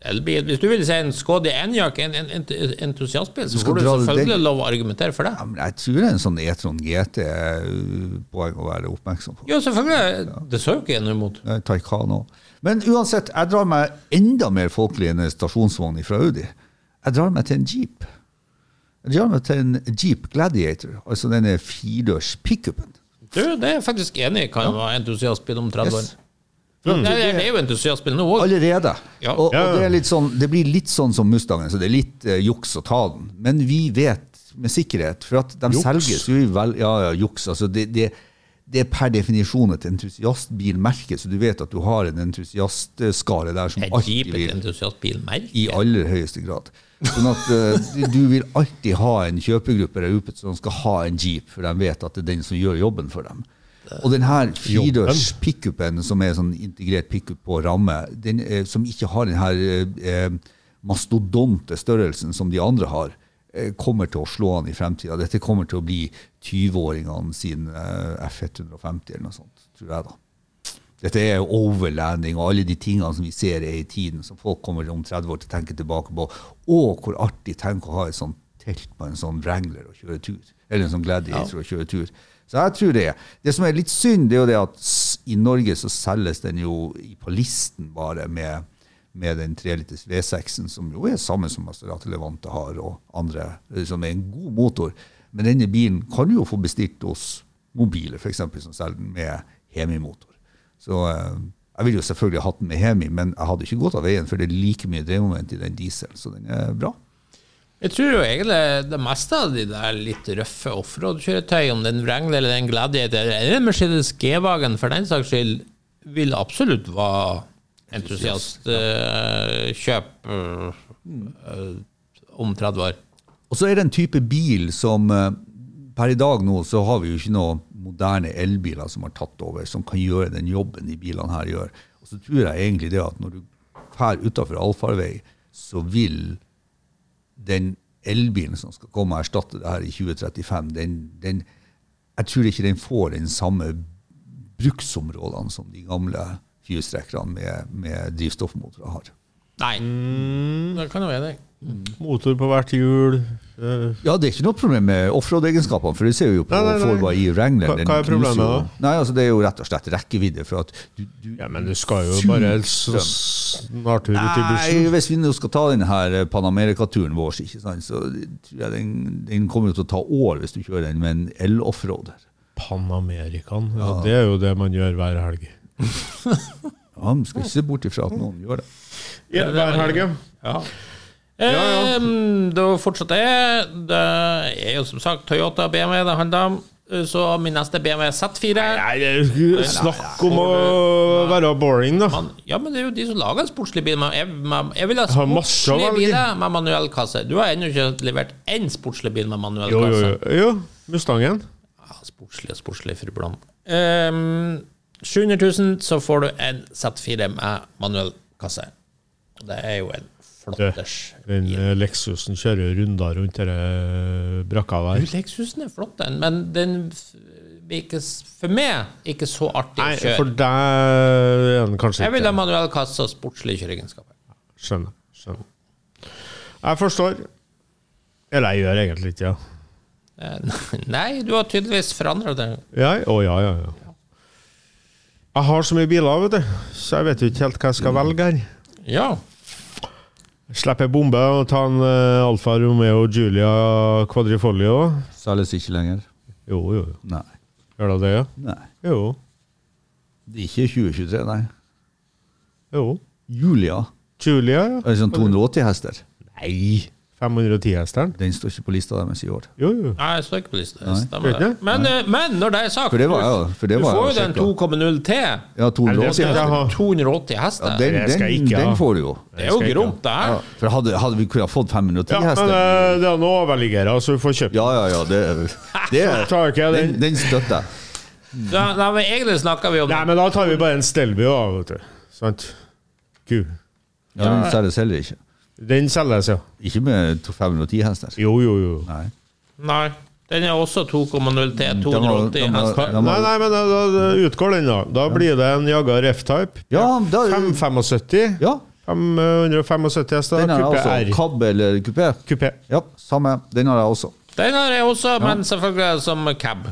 S1: elbil, hvis du ville si en Skoda Enyaq, en, en, en entusiastbil, så
S4: skal
S1: får du
S4: dra det
S1: selvfølgelig
S4: den-
S1: lov å argumentere for
S4: Ja,
S1: det.
S4: men jeg tror en sånn E-tron GT er uh, poeng å være oppmerksom på.
S1: Jo, selvfølgelig. Det så jo ikke jeg noe imot.
S4: Eh, Taycan òg. Men uansett, jeg drar meg enda mer folkelig enn en stasjonsvogn fra Audi. Jeg drar meg til en Jeep. Jeg drar meg til en Jeep Gladiator, altså denne firedørs pickupen.
S1: Du, det er jeg faktisk enig i, kan være entusiastbil om 30 år.
S4: Yes. Mm.
S1: Nei, det er jo entusiastbil nå òg.
S4: Allerede.
S1: Ja.
S4: Og, og
S3: Ja.
S4: det, er litt sånn, det blir litt sånn som Mustangen, så det er litt eh, juks å ta den. Men vi vet med sikkerhet, for at de
S3: Juks?
S4: selges jo i vel, Ja, ja, juks. Altså det, det, det er per definisjon et entusiastbilmerke, så du vet at du har en entusiastskare der som
S1: Er
S4: alltid
S1: Jeep et
S4: vil
S1: entusiastbilmerke?
S4: I aller høyeste grad. Sånn at eh, du vil alltid ha en kjøpegruppe der ute som skal ha en jeep, for de vet at det er den som gjør jobben for dem. Og den her firedørs pickupen, som er sånn integrert pickup på ramme, den, eh, som ikke har den her eh, eh, mastodonte størrelsen som de andre har, eh, kommer til å slå an i fremtida. Dette kommer til å bli 20-åringene sin eh, F150 eller noe sånt, tror jeg, da. Dette er jo overlanding og alle de tingene som vi ser er i tiden, som folk kommer om 30 år til å tenke tilbake på. Og hvor artig tenk å ha et sånt telt på en sånn Wrangler og kjøre tur. Eller en sånn Gladiator og kjøre tur. Så jeg tror det. er. Det som er litt synd, det er jo det at s- i Norge så selges den jo i- på listen bare med, med den 3 liters V6-en, som jo er samme som Maserati Levante har, og andre, eh, som er en god motor. Men denne bilen kan du jo få bestilt hos mobile, f.eks., som selger den med hemimotor. Så eh, Jeg ville jo selvfølgelig hatt den med hjem, i, men jeg hadde ikke gått av veien, for det er like mye drevmoment i den dieselen, så den er bra.
S1: Jeg tror jo egentlig det meste av de der litt røffe offroad-kjøretøy, om den Wrangle eller den Gladiator eller Mercedes G-Wagen for den saks skyld, vil absolutt være entusiastkjøp eh, om 30 år.
S4: Og så er det en type bil som eh, Per i dag nå så har vi jo ikke noen moderne elbiler som har tatt over, som kan gjøre den jobben de bilene her gjør. Og så tror jeg egentlig det at når du drar utafor allfarvei, så vil den elbilen som skal komme og erstatte det her i 2035, den, den, jeg tror ikke den får den samme bruksområdene som de gamle firestrekkerne med, med drivstoffmotorer har.
S1: Nei, Mm, det kan jeg være enig i.
S3: Motor på hvert hjul. eh,
S4: Ja, det er ikke noe problem med offroad-egenskapene, for det ser vi jo på
S3: Nei, nei, nei.
S4: Forba i Wrangler.
S3: Hva-
S4: den
S3: hva er
S4: knuser
S3: problemet
S4: jo-
S3: da?
S4: Nei, altså Det er jo rett og slett rekkevidde. for at du, du
S3: Ja, men du skal jo
S4: Surt
S3: bare så
S4: strøm.
S3: snart ut i
S4: Nei,
S3: bussen.
S4: hvis vi nå skal ta denne her eh, Panamerikaturen vår, ikke sant, så tror jeg den, den kommer jo til å ta år hvis du kjører den med en el-offroader.
S3: Panamerikan. Ja, det er jo det man gjør hver helg.
S4: Ja, man skal ikke se bort ifra at noen gjør det.
S3: Ja, hver helg,
S1: Ja.
S3: ja.
S1: Ehm, Det var fortsatt det. Det er jo som sagt Toyota og BMW det handler om. Så min neste BMW Z4
S3: Snakk om å være boring, da.
S1: man, Ja, men det er jo de som lager en sportslig bil. Men jeg, men jeg vil ha
S3: Har masse å
S1: sportslige
S3: velge.
S1: biler med manuell kasse. Du har ennå ikke levert én sportslig bil med manuell
S3: Jo, jo,
S1: kasse.
S3: jo. jo. Mustangen.
S1: Ja, sportslig og sportslig, fru Blom. Ehm, 700 000, så får du en Z4 med manuell kasse. Og Det er jo en flotters.
S3: Den eh, Lexusen kjører jo runder rundt denne eh, brakka der.
S1: Lexusen er flott, den, men den f- blir ikke, s- for meg ikke så artig
S3: Nei,
S1: å kjøre.
S3: for deg er den kanskje
S1: Jeg vil
S3: ikke
S1: ha manuell kasse og sportslige kjøreegenskaper.
S3: Skjønner. skjønner. Jeg forstår. Eller jeg gjør egentlig ikke det. Ja.
S1: Eh, [laughs] Nei, du har tydeligvis forandra det.
S3: Ja, å, ja, ja, ja. Jeg har så mye biler, vet du, så jeg vet jo ikke helt hva jeg
S1: Mm.
S3: skal velge her.
S1: Ja.
S3: Slipper bombe og ta en eh, Alfa Romeo Julia Quadrifolio.
S4: Selges ikke lenger.
S3: Jo, jo, jo.
S4: Nei.
S3: Gjør det det, ja?
S4: nei.
S3: Jo,
S4: Det er ikke 2023, nei.
S3: jo.
S4: Julia.
S3: Julia, ja.
S4: Er det sånn 280 hester?
S3: Nei. 510-hesteren.
S4: Den står ikke på lista deres i år.
S3: Jo, jo.
S1: Nei, jeg står ikke på lista.
S4: Nei.
S1: Stemmer det.
S3: Ikke?
S1: Men, eh, men når det er sagt,
S4: For det var jeg- for det
S1: du
S4: var
S1: får jo
S4: jeg
S1: den
S4: og
S1: 2,0 T.
S4: Ja,
S3: Nei, det
S4: 280
S3: skal jeg
S4: hester.
S3: ha.
S1: 280 hester.
S4: Ja,
S1: det,
S4: den,
S3: Det skal jeg
S4: den,
S3: ikke ha.
S4: den får du jo.
S1: er jo
S3: skal jeg ikke
S1: gromt, det her.
S4: Ja, for hadde, hadde vi kunnet fått 510
S3: Ja, men
S4: hester
S3: eh, det er noen overliggere, så vi altså, får kjøpt
S4: Ja, ja, ja. Det, det,
S3: [laughs] Tar ikke jeg
S4: den,
S3: den.
S4: den støtter jeg.
S1: Da, da, men egentlig snakker vi om
S3: Nei, men da tar vi bare en Stelvio, da, vet du. Sant? Gud.
S4: Ja, den selges heller ikke.
S3: Den selges, ja.
S4: Ikke med 510 hester.
S3: Jo, jo, jo.
S4: Nei.
S1: Nei. Den er også 2,0 T.
S4: Mm, Den var-
S1: 280
S4: den var-
S1: hester.
S3: Nei,
S4: den var-
S3: nei, men da, da da utgår den, da. Da blir det en Jaga F-type.
S4: Ja, da,
S3: 575.
S4: ja,
S3: 575 hester.
S4: den altså har jeg
S3: Kuppe
S4: også.
S3: R.
S4: Cab eller kupé.
S3: Kuppe.
S4: Ja, samme. Den har jeg også.
S1: Den har jeg også, men selvfølgelig som cab.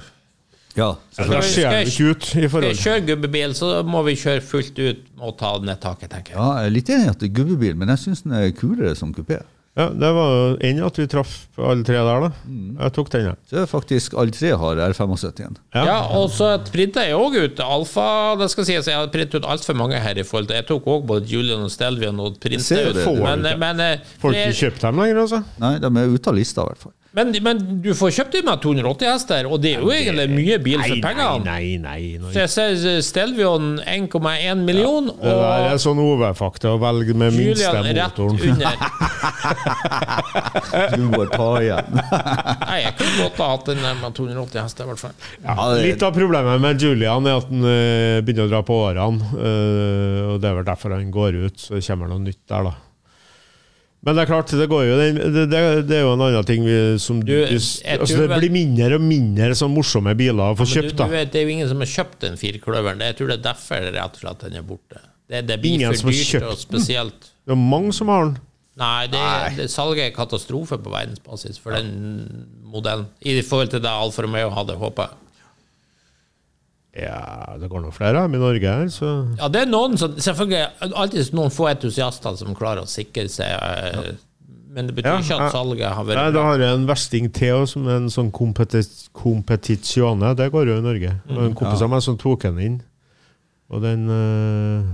S4: Ja,
S3: Da
S1: vi-
S3: ser
S1: skal
S3: vi
S1: jeg-
S3: ikke ut i
S1: Skal jeg
S3: forhold
S1: kjøre gubbebil, så må vi kjøre fullt ut og ta ned taket, tenker jeg.
S4: ja, jeg er litt enig i at det er gubbebil, men jeg syns den er kulere som kupé.
S3: Ja, Det var jo enn at vi traff på alle tre der, da.
S1: Mm.
S3: Jeg tok den, jeg.
S4: Så er det faktisk alle tre har R75 igjen.
S1: Ja, og så printa jeg òg ut alfa. Det skal sies, jeg har printet ut altfor mange her. i forhold til Jeg tok òg både Julian og Stelvian og printa
S4: ser jo
S1: ut.
S4: det.
S1: Men,
S3: Får du
S1: men, eh,
S3: Får
S1: det-
S3: ikke kjøpt dem lenger, altså.
S4: Nei, de er ute av lista, i hvert fall.
S1: men, men du får kjøpt dem med 280 hester, og det er jo egentlig mye bil for pengene.
S3: nei, nei. nei.
S1: Så jeg ser eh, Stelvion 1,1 million,
S3: Det der
S1: og
S3: er sånn OV-fakta å velge med minste
S1: Julian rett
S3: motoren.
S1: under.
S3: [laughs]
S4: Du må ta igjen.
S1: Nei, jeg kunne godt ha hatt den der med 280 hester, i hvert fall.
S4: Ja,
S3: Litt
S4: det,
S3: av problemet med Julian er at han eh, begynner å dra på årene. eh, og Det er vel derfor han går ut. Så det kommer noe nytt der, da. Men det er klart, det, går jo, det, det, det er jo en annen ting vi, som du,
S1: Du, jeg
S3: altså,
S1: tror
S3: Det
S1: vel-
S3: blir mindre og mindre sånn morsomme biler å få
S1: Men du,
S3: kjøpt.
S1: du
S3: da.
S1: vet, det er jo ingen som har kjøpt den firkløveren. Jeg tror det er derfor rett og slett den er borte. Det, det blir
S3: Ingen som
S1: for
S3: har
S1: dyrt
S3: kjøpt
S1: og spesielt.
S3: Det er mange som har den.
S1: Nei, det, det salget er katastrofe på verdensbasis for den modellen. I forhold til det Alfa Romeo hadde håpa.
S3: Ja, det går nå flere av dem i Norge her, så
S1: Ja, det er noen som Selvfølgelig er det alltid noen få entusiaster som klarer å sikre seg, eh, men det betyr
S3: Ja,
S1: ikke at
S3: ja.
S1: salget har
S3: Nei,
S1: vært
S3: da
S1: bra.
S3: har jeg en versting til også, som er en
S1: Mm.
S3: sånn competi- competizione. Det går jo i Norge. Og en kompis av meg som tok den inn. Og den eh,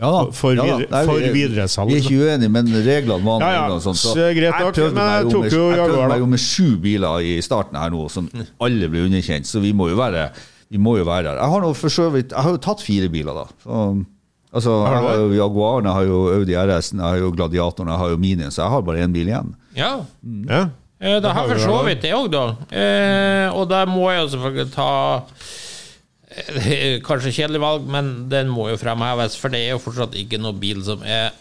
S4: Ja da.
S3: For- for
S4: ja da.
S3: videre- for
S4: vi-
S3: videresalg.
S4: Vi er ikke uenige, men reglene var
S3: Ja, ja.
S4: noe sånt,
S3: Så det er greit nok, men
S4: prøvde meg
S3: jeg
S4: jo med-
S3: tok jo
S4: jeg prøvde
S3: Jaguar,
S4: meg
S3: da.
S4: jo med sju biler i starten her nå, som alle ble underkjent, så vi må jo være vi må jo være der. Jeg har nå for så vidt, jeg har jo tatt fire biler, da. Så, altså, jeg har jo Jaguaren, jeg har jo Audi RS-en, jeg har jo Gladiatoren, jeg har jo Minien, så jeg har bare én bil igjen.
S1: Ja.
S3: Ja.
S1: Eh, Det har for så vidt det òg, da. Eh, og der må jeg jo selvfølgelig ta eh, [laughs] Kanskje kjedelig valg, men den må jo fremheves, for det er jo fortsatt ikke noen bil som er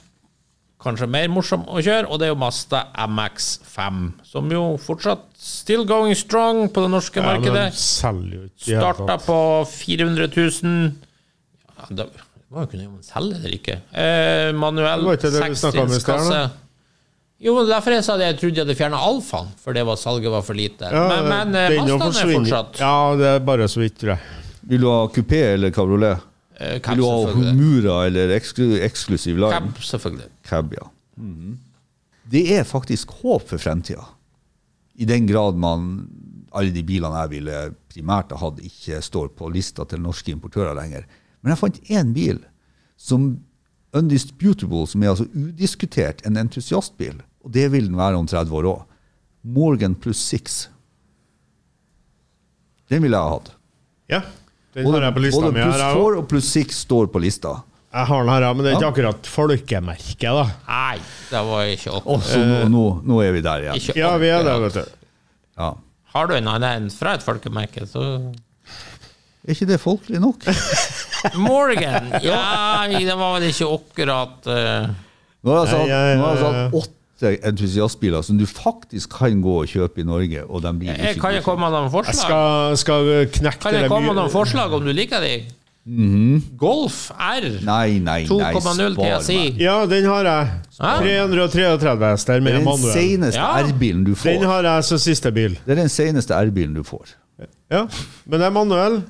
S1: kanskje mer morsom å kjøre, og det er jo Mazda MX5, som jo fortsatt still going strong på det norske
S3: Ja, men
S1: markedet.
S3: de selger jo ikke i hele
S1: Starta
S3: tatt.
S1: på 400 000. Ja, da må jo kunne om man selger eller ikke. Eh, manuell
S3: Det var ikke det vi snakket om i sted,
S1: sekstrinnskasse.
S3: da.
S1: Jo, men derfor jeg sa det, jeg trodde jeg hadde fjerna alfaen, for det var salget var for lite.
S3: Ja,
S1: men men eh,
S3: den jo
S1: Mazdaen er
S3: forsvinner.
S1: fortsatt
S3: Ja, det er bare så vidt, tror jeg.
S4: Vil du ha kupé eller kabriolet?
S1: eh,
S4: Vil
S1: cab,
S4: du ha
S1: selvfølgelig.
S4: Humura eller eksklu, eksklusiv line?
S1: Cab, selvfølgelig.
S4: Cab, ja. Det er faktisk håp for fremtida. I den grad man alle de bilene jeg ville primært ha hatt, ikke står på lista til norske importører lenger. Men jeg fant én bil som undisputable, som er altså udiskutert en entusiastbil. Og det vil den være om 30 år òg. Morgan pluss Six. Den ville jeg ha hatt.
S3: Ja, den har jeg på lista
S4: både
S3: mi.
S4: pluss
S3: her, jeg
S4: 4
S3: også.
S4: og pluss 6 står på lista.
S3: Jeg har den her, ja, men det er
S4: Ja.
S3: ikke akkurat folkemerket, da.
S1: Nei, det var ikke opp.
S4: Å, så nå, nå, nå er vi der igjen.
S1: Ikke
S3: Ja, vi er der,
S1: akkurat.
S3: vet du.
S4: Ja.
S1: Har du en annen enn fra et folkemerke, så
S4: Er ikke det folkelig
S3: [laughs]
S4: nok?
S1: Morgan! Ja, det var vel ikke akkurat eh,
S4: Nå har jeg altså
S3: Nei, jeg-
S4: hatt- nå har jeg altså hatt åtte entusiastbiler som du faktisk kan gå og kjøpe i Norge, og de blir
S1: jeg, Kan
S4: ikke
S1: jeg komme med noen
S3: Jeg
S1: forslag?
S3: skal, skal knekke
S1: Kan jeg
S3: det
S1: komme med
S3: mye- Mhm.
S1: noen forslag om du liker de? Golf R.
S4: Nei, nei, nei,
S1: 2,0 TSI.
S3: Ja, den har jeg.
S1: Ah.
S3: 333 hester
S4: Det
S3: med
S4: er den
S3: manuell.
S4: seneste
S1: Ja.
S4: R-bilen du
S3: Den
S4: får.
S3: har jeg som siste bil.
S4: Det er den seneste R-bilen du får.
S3: Ja, men det er manuell.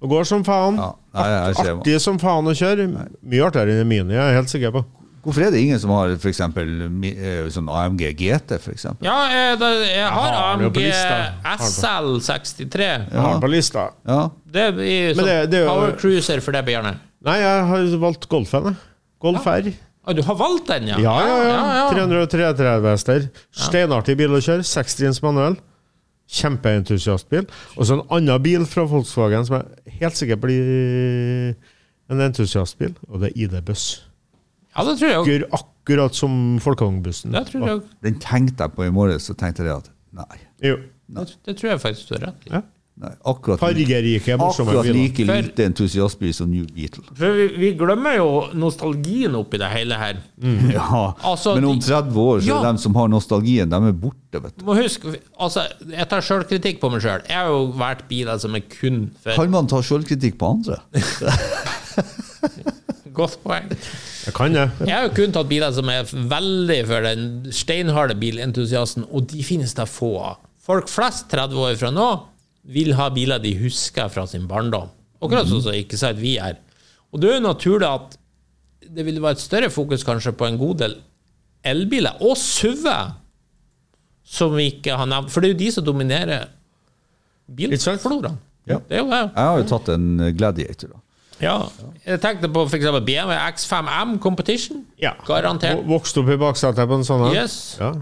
S3: Og går som faen.
S4: Ja. Nei, jeg ser hva-
S3: Artig som faen å kjøre. Mye artigere enn Mini, jeg er helt sikker på.
S4: Hvorfor er det ingen som har for eksempel, mi- eh, sånn AMG GT, for eksempel?
S1: Ja, eh, da, jeg har
S3: har den jo på
S1: AMG
S3: lista. Har den på.
S1: SL63.
S3: Jeg har den på lista.
S4: Ja.
S1: Det blir sånn
S3: det- det er jo-
S1: Power Cruiser for deg, Bjarne.
S3: Nei, jeg har valgt Golfen, jeg. Golf R.
S1: Ah, du har valgt den, ja?
S3: Ja, ja, ja.
S1: ja, ja.
S3: 333 hester. Steinartig bil å kjøre. Sekstrins manuell. Kjempeentusiastbil. Og så en annen bil fra Volkswagen som jeg helt sikkert blir en entusiastbil, og det er ID-buss.
S1: Ja, det tror jeg òg.
S3: Akkur- Akkurat som Folkongbussen.
S1: Det tror jeg òg.
S4: Den tenkte jeg på i morges, så tenkte jeg at nei.
S3: Jo.
S1: Det- Det tror jeg faktisk du har rett i.
S3: Ja.
S4: nei akkurat,
S3: Fargerike, morsomme
S4: akkurat
S3: biler.
S4: like
S1: For-
S4: lite entusiastbil som New Beetle.
S1: For vi, vi glemmer jo nostalgien oppi det hele her.
S3: Mm.
S4: [laughs] Ja.
S1: Altså,
S4: Men om
S1: de-
S4: 30 år så er
S1: Ja.
S4: de som har nostalgien, de er borte, vet
S1: Du
S4: du.
S1: må huske, altså, Jeg tar sjølkritikk på meg sjøl. Jeg har jo vært biler som er kun for
S4: Kan man ta sjølkritikk på andre?
S1: Godt poeng.
S3: Jeg kan det.
S1: Jeg har jo kun tatt biler som er veldig for den steinharde bilentusiasten, og de finnes det få av. Folk flest 30 år fra nå vil ha biler de husker fra sin barndom. Akkurat sånn som ikke si at vi er. Og det er jo naturlig at det vil være et større fokus kanskje på en god del elbiler, og SUV-er, som vi ikke har nevnt. For det er jo de som dominerer bilfloraen.
S4: Ja.
S1: Det er jo det.
S4: Jeg har jo tatt en eh, Gladiator, da.
S1: Ja. Jeg tenkte på f.eks. BMW X5M Competition.
S3: Ja.
S1: Garantert.
S3: Vok- Vokste opp i baksetet på en sånn en.
S1: Yes.
S3: Ja.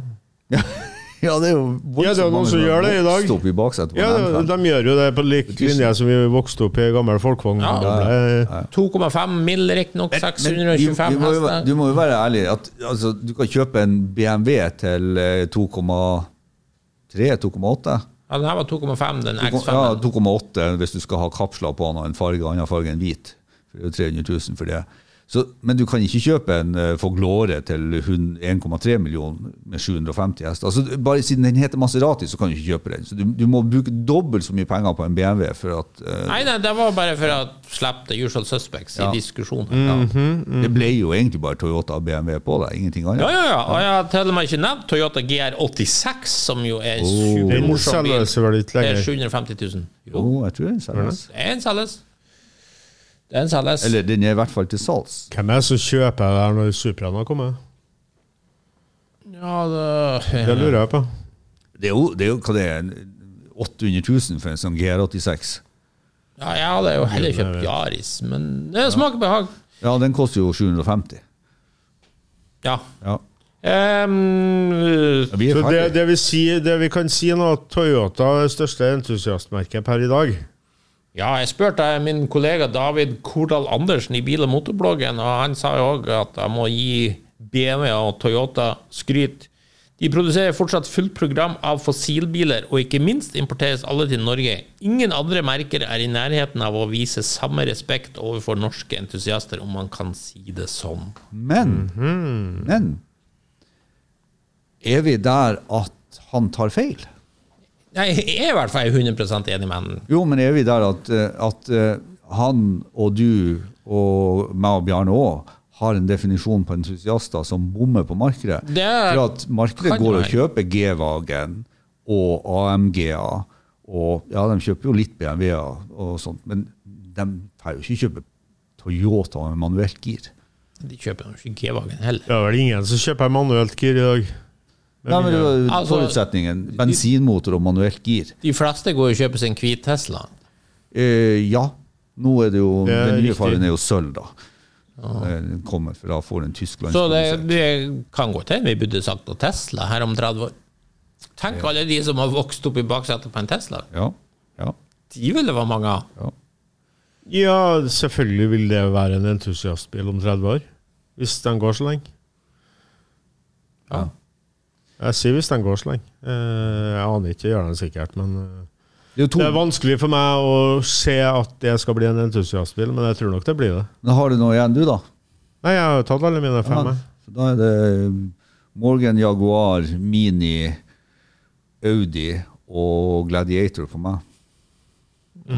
S4: Ja, det er jo
S3: Ja, det er jo noen som gjør det i dag.
S4: Stopp i baksetet på
S3: ja,
S4: en
S3: de,
S4: M5.
S3: de gjør jo det på lik linje som vi vokste opp i gammel folkevogn.
S1: Ja.
S3: Gamle-
S1: 2,5 mil, riktignok.
S4: Men du,
S1: 625
S4: du, må jo, være- du
S1: hester.
S4: må jo være ærlig. At, altså, du kan kjøpe en BMW til eh, 2,3-2,8.
S1: Ja, den her var 2,5, den X5.
S4: Ja, 2,8 hvis du skal ha kapsler på annen farge, annen farge enn hvit. For det er jo 300 000 for det. Så, men du kan ikke kjøpe en eh, Foglore til hun- 1,3 millioner med 750 hester. Altså, bare siden den heter Maserati, så kan du ikke kjøpe den. Så du, du må bruke dobbelt så mye penger på en BMW for at eh,
S1: Nei, nei, det var bare for å slippe the usual suspects i diskusjonen.
S4: Ja.
S3: Mhm.
S4: Det ble jo egentlig bare Toyota og BMW på det, ingenting
S1: Ja,
S4: annet.
S1: ja, ja. Og jeg har til og med ikke nevnt Toyota GR86, som jo er
S4: Oh.
S1: en
S3: Den
S1: supermorsom bil.
S3: selges vel ikke
S1: Det er
S3: lenger.
S1: 750 000.
S4: Jo,
S1: Jo,
S4: jeg tror den selges.
S1: det er en selges. Det er en selges.
S4: Eller den er i hvert fall til salgs.
S3: Hvem er det som kjøper det her når Supraen har kommet?
S1: Ja,
S3: Det
S1: det
S3: lurer jeg på.
S4: Det er jo, det er jo hva det er, 800 000 for en sånn GR86.
S1: Ja, jeg hadde jo heller kjøpt Yaris, men det smaker behag.
S4: Ja, den koster jo 750.
S1: Ja.
S4: Ja.
S1: Ehm,
S4: Ja, vi er
S3: Så det,
S4: ferdige.
S3: det, vi sier, det vi kan si nå, at Toyota er det største entusiastmerket per i dag.
S1: ja, jeg spurte min kollega David Kordal Andersen i Bil- og motorbloggen, og han sa jo òg at jeg må gi BMW og Toyota skryt. De produserer fortsatt fullt program av fossilbiler, og ikke minst importeres alle til Norge. Ingen andre merker er i nærheten av å vise samme respekt overfor norske entusiaster, om man kan si det sånn.
S4: Men,
S1: Mhm.
S4: men Er vi der at han tar feil?
S1: Jeg er i hvert fall 100 enig med han.
S4: Jo, men er vi der at, eh, at eh, han og du og meg og Bjarne òg har en definisjon på entusiaster som bommer på markedet?
S1: Det er-
S4: For at markedet
S1: kan
S4: går og
S1: være.
S4: kjøper G-Wagen og AMG-er, og ja, de kjøper jo litt BMW-er og sånt, men de får jo ikke kjøpe Toyota med manuelt gir.
S1: De kjøper jo ikke G-Wagen heller.
S3: Det er vel ingen som kjøper manuelt gir i dag.
S4: Nei, men det var jo
S1: Altså-
S4: forutsetningen. Bensinmotor og manuelt gir.
S1: De fleste går og kjøper seg en hvit Tesla.
S4: Eh, ja, nå er det jo
S3: Det er
S4: Den nye
S3: riktig.
S4: fargen er jo sølv, da. Eh, Den kommer fra får den tyskland
S1: Så det, det kan godt hende vi burde sagt noe Tesla her om 30 år. Tenk alle de som har vokst opp i baksetet på en Tesla.
S4: Ja, ja,
S1: De ville være mange av.
S4: ja.
S3: Ja, selvfølgelig vil det være en entusiastbil om 30 år. Hvis den går så lenge.
S1: Ja.
S3: Jeg sier hvis den går så lenge. Eh, Jeg aner ikke, gjør den sikkert, men eh,
S4: Det er jo to.
S3: Det er vanskelig for meg å se at det skal bli en entusiastbil, men jeg tror nok det blir det.
S4: Men har du noe igjen, du, da?
S3: Nei, jeg har jo tatt alle mine fem. jeg.
S4: Så da er det eh, Morgan Jaguar, Mini, Audi og Gladiator for meg.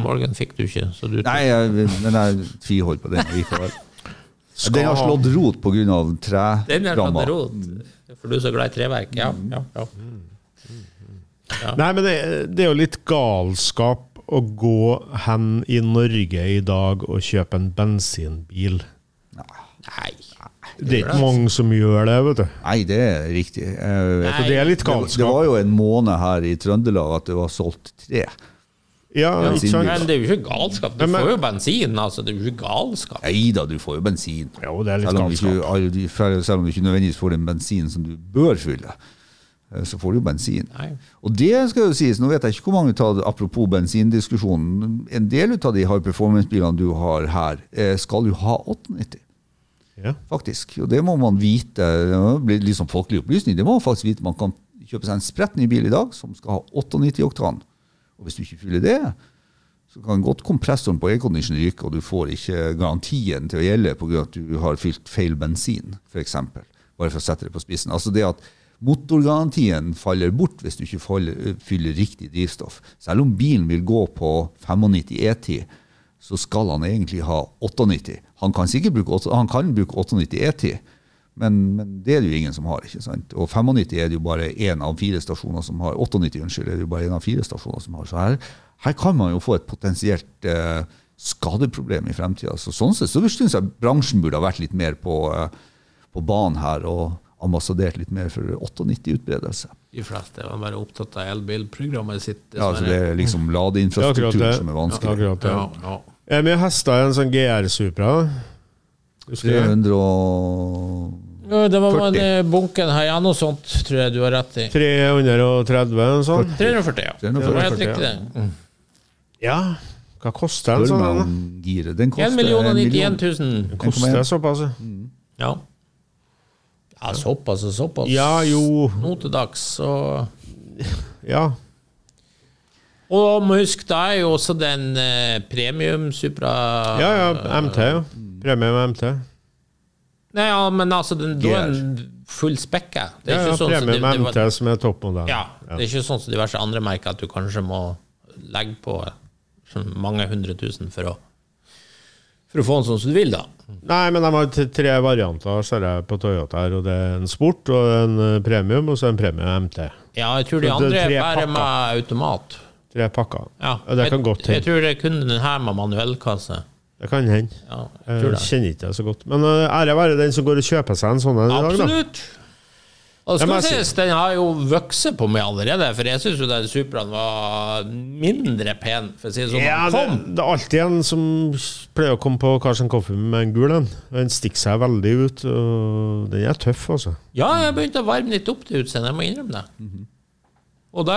S1: Morgan fikk du ikke, så du
S4: Nei, jeg, men jeg tviholder på den likevel. Den har slått rot pga.
S1: Den er tatt
S4: treramma.
S1: rot. For du er så glad i treverk. Ja, ja, ja.
S3: Nei, men det, det er jo litt galskap å gå hen i Norge i dag og kjøpe en bensinbil.
S1: Nei.
S3: Det er ikke mange som gjør det, vet du.
S4: Nei, det er riktig. Eh, Jeg vet
S3: Så det er litt
S4: Det, det var
S3: galskap.
S4: jo en måned her i Trøndelag at det var solgt tre.
S3: Ja, ikke sant?
S1: Men det er jo ikke galskap. Du
S3: Men-
S1: får jo bensin, altså. Det er jo ikke galskap.
S4: Nei da, du får jo bensin.
S3: Jo, det er litt
S4: Selv om, du
S3: galskap.
S4: ikke, all- du- selv om du ikke nødvendigvis får den bensinen som du bør fylle, eh, så får du jo bensin.
S1: Nei.
S4: Og det skal jo sies, nå vet jeg ikke hvor mange av, apropos bensindiskusjonen, en del ut av de high performance-bilene du har her, eh, skal jo ha 890.
S3: Ja.
S4: faktisk. Og det må man vite. Det må bli litt sånn folkelig opplysning. Det må man faktisk vite. Man kan kjøpe seg en spretten ny bil i dag som skal ha 98 oktan. Og hvis du ikke fyller det, så kan godt kompressoren på aircondition ryke, og du får ikke garantien til å gjelde pga. at du har fylt feil bensin, f.eks. Bare for å sette det på spissen. Altså det at motorgarantien faller bort hvis du ikke faller- fyller riktig drivstoff. Selv om bilen vil gå på 95 E10, så skal han egentlig ha 98. Han kan sikkert bruke, åtte- han kan bruke E 98 E10, men, men det er det jo ingen som har. ikke sant? Og 95 er det jo bare én av fire stasjoner som har. 98 unnskyld, er det jo bare en av fire stasjoner som har. Så her, her kan man jo få et potensielt eh, skadeproblem i fremtida. Så sånn sett så syns jeg bransjen burde ha vært litt mer på, eh, på banen her og ambassadert litt mer for 98-utbredelse.
S1: De fleste var bare opptatt av elbilprogrammet sitt.
S4: Ja, altså Det
S1: dessverre.
S4: er
S3: Det
S4: liksom
S3: er akkurat
S4: ladeinfrastruktur
S3: det.
S4: som er
S3: Ja,
S4: vanskelig.
S3: akkurat det.
S1: ja, ja.
S3: Jeg er mye hester i en sånn GR Supra. Husker du det?
S4: 300 og
S1: Ja, Det var
S4: 40.
S1: en eh, bunken Hayano og sånt, tror jeg du har rett i.
S3: 330, en sånn.
S1: 340, ja. Det var helt
S4: 340,
S1: riktig, det. Mm.
S3: Ja, hva koster en
S4: Spør
S3: sånn?
S4: meg
S3: en,
S4: om giret. Den
S1: 1
S4: koster
S1: million og 91
S4: 000.
S1: 000.
S3: da? Koster
S4: 1,1.
S3: det såpass? ja?
S1: Ja. ja, såpass og såpass.
S3: Ja, jo.
S1: Nå til dags, så
S3: Ja.
S1: Og må huske, da er jo også den eh, premium Supra
S3: ja, ja, MT, jo. Premie med MT.
S1: Nei, ja, men altså, den, da er
S4: GR.
S1: den full spekka. Det
S3: Ja,
S1: er
S3: ja,
S1: ikke sånn som
S3: premie
S1: det-
S3: med
S1: det
S3: MT
S1: var-
S3: som er toppmodell.
S1: Ja, det er ikke sånn som diverse andre merker at du kanskje må legge på sånn mange hundre tusen for å, for å få den sånn som du vil, da.
S3: Nei, men de har t- tre varianter ser jeg på Toyota her, og det er en sport, og en eh, premium, og så en premie med MT.
S1: Ja, jeg tror de
S3: Så det er
S1: andre
S3: tre
S1: bærer
S3: pakker.
S1: med automat.
S3: Tre pakker.
S1: Ja.
S3: Og det kan
S1: jeg,
S3: godt
S1: jeg
S3: hende.
S1: tror det er kun den her med manuellkasse.
S3: Det kan hende.
S1: Ja, jeg
S3: Eh, Jeg
S1: tror det.
S3: eh, kjenner ikke det så godt. Men eh, ære være den som går og kjøper seg en sånn en i dag, da.
S1: Absolutt! Og det skal
S3: Ja, men jeg
S1: sies, den har jo vokst på meg allerede, for jeg syns jo den Supraen var mindre pen, for å si det sånn.
S3: Ja,
S1: Ja,
S3: det,
S1: kom.
S3: det er alltid en som pleier å komme på Carson Coffee med en gul en. Den stikker seg veldig ut. og Den er tøff, altså.
S1: ja, jeg begynte å varme litt opp til utseendet, jeg må innrømme det. Og da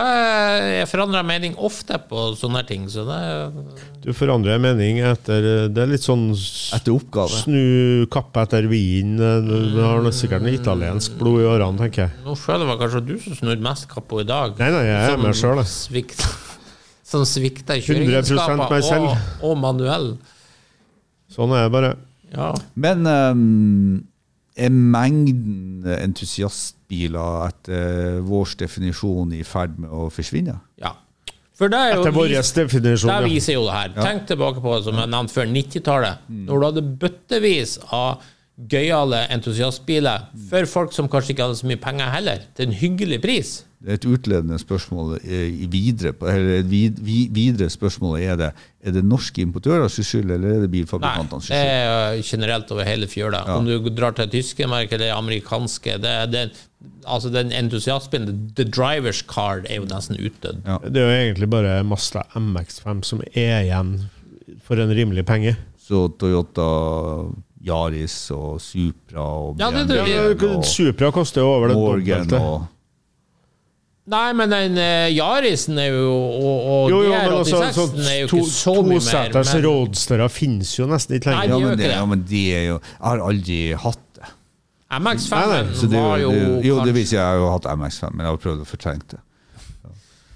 S1: jeg forandrer mening ofte på sånne ting, så det
S3: Du forandrer mening etter Det er litt sånn s-
S4: Etter oppgave.
S3: snu kappe etter vinen. Du har nå sikkert noe italiensk blod i årene, tenker jeg.
S1: Nå føler jeg vel kanskje du som snudde mest kappo i dag.
S3: Nei, nei, jeg er
S1: Som
S3: med selv, jeg.
S1: Svikt, [laughs] som svikta i
S3: 100% meg
S1: kjøreegenskaper og,
S3: selv.
S1: og manuell.
S3: Sånn er det bare.
S1: Ja.
S4: Men ehm, er mengden entusiastbiler etter vår definisjon i ferd med å forsvinne?
S1: ja. For det er jo
S3: Etter vår definisjon.
S1: Der
S3: ja.
S1: viser jo det her. Tenk tilbake på det som jeg nevnte før, 90-tallet. Når du hadde bøttevis av gøyale entusiastbiler for folk som kanskje ikke hadde så mye penger heller, til en hyggelig pris.
S4: Det er Et utledende spørsmål eh, i videre, på- eller et vid, vi- videre spørsmålet er det er det norske importørers skyld, eller er det
S1: Nei,
S4: bilfabrikantenes
S1: det
S4: skyld?
S1: er jo generelt over hele fjøla. Om du drar til det tyske merket eller det amerikanske det, det, Altså, den entusiastbilen, the, the driver's card, er jo nesten utdødd.
S4: Ja.
S3: Det er jo egentlig bare Mazda MX5 som er igjen for en rimelig penge.
S4: Så Toyota Yaris og Supra og
S1: Ja, det-
S4: BMW
S1: det-
S4: og
S3: Supra koster jo over det
S4: Morgan
S3: dobbelte.
S4: og
S1: Nei, men den eh, Yarisen er jo Og, og
S3: Jo, jo, men altså,
S1: DR86-en
S3: sånn
S1: er jo
S3: to,
S1: ikke så mye mer.
S3: toseters
S1: men-
S3: roadsterer finnes jo nesten ikke
S1: Nei,
S3: lenger.
S1: de
S4: ja,
S1: gjør
S4: men
S1: ikke
S4: det,
S1: det.
S4: ja, men det er jo Jeg har aldri hatt det.
S1: MX5
S3: Nei, nei,
S4: Så det,
S1: var
S4: er
S1: jo,
S4: jo, det, er jo, jo, det
S1: kanskje-
S4: vil si, jeg har jo hatt MX5, men jeg har prøvd å fortrenge det.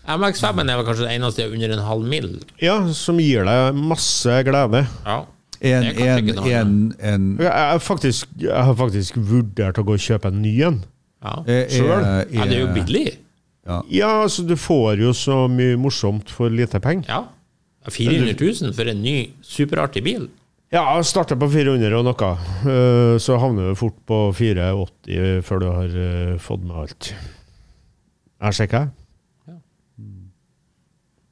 S1: MX5 er vel kanskje det eneste under en halv mil.
S3: Ja, som gir deg masse glede.
S1: Ja.
S4: En,
S1: Det kan
S4: en,
S1: ikke noe
S4: en, en,
S3: Jeg, jeg, faktisk, jeg har faktisk vurdert å gå og kjøpe en ny en.
S1: Ja.
S4: er- er-
S1: ja, det er jo billig.
S3: Ja, altså, du får jo så mye morsomt for lite penger.
S1: Ja. 400 000 for en ny superartig bil.
S3: Ja, starter på 400 og noe, eh, så havner du fort på 480 før du har eh, fått med alt. Jeg sjekker.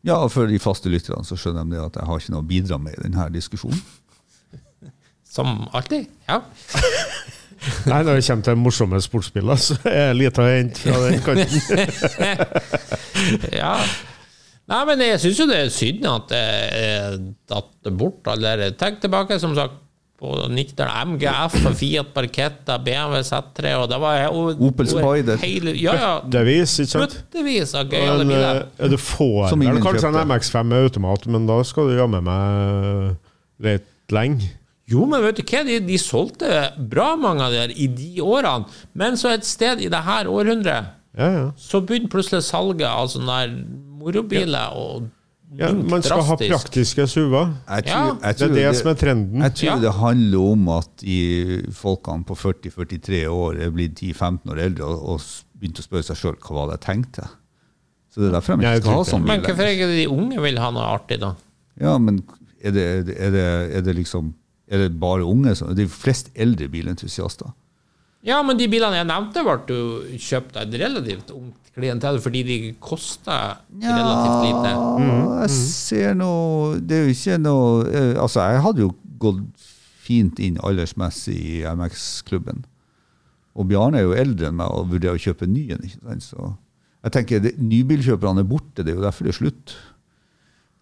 S4: Ja, og for de faste lytterne så skjønner de det at jeg har ikke noe å bidra med i denne diskusjonen.
S1: Som alltid. Ja.
S3: Nei, når det kommer til morsomme sportsbiler, så er det lite å hente fra den kanten.
S1: ja. Nei, men jeg syns jo det er synd at det er tatt bort. Eller tenk tilbake, som sagt, på 90-tallet. MGF, og Fiat Barchetta, BMW Z3 og det var og,
S4: Opel Spider.
S1: Hele, ja, ja.
S3: Bøttevis, ikke sant?
S1: Bøttevis av gøyale
S3: Men,
S1: biler.
S3: eh, du får
S4: Som
S3: vel
S4: ingen
S3: kanskje en
S4: kjøpte.
S3: MX5 med automat, men da skal du jammen meg litt lenge.
S1: Jo, men vet du hva? De, de solgte bra mange av de her i de årene. Men så et sted i det her århundret,
S3: Ja, ja.
S1: så begynte plutselig salget av sånne her morobiler og
S3: ja man skal ha
S1: drastisk.
S3: praktiske suver.
S4: Jeg
S1: Ja,
S4: tror, jeg
S3: Det
S4: tror
S3: er det som er trenden.
S4: jeg tror
S1: Ja.
S4: det handler om at de folkene på 40-43 år er blitt 10-15 år eldre og, og s- begynte å spørre seg sjøl hva var det jeg tenkte. Så det er derfor de
S3: Jeg
S4: ikke skal
S3: tror
S4: ha
S3: ikke
S4: sånn
S1: Men
S4: bil.
S1: hvorfor
S4: lenger.
S1: er det de unge vil ha noe artig, da?
S4: Ja, men er det, er det, er det, er det liksom er det bare unge som De flest eldre bilentusiaster.
S1: Ja, men de bilene jeg nevnte, ble jo kjøpt av et relativt ungt klientell fordi de kosta relativt lite.
S3: Mm-hmm.
S4: Jeg ser noe Det er jo ikke noe eh, Altså, jeg hadde jo gått fint inn aldersmessig i MX-klubben. Og Bjarne er jo eldre enn meg og vurderer å kjøpe en ny en. ikke sant? Så jeg tenker, det, Nybilkjøperne er borte, det er jo derfor det er slutt.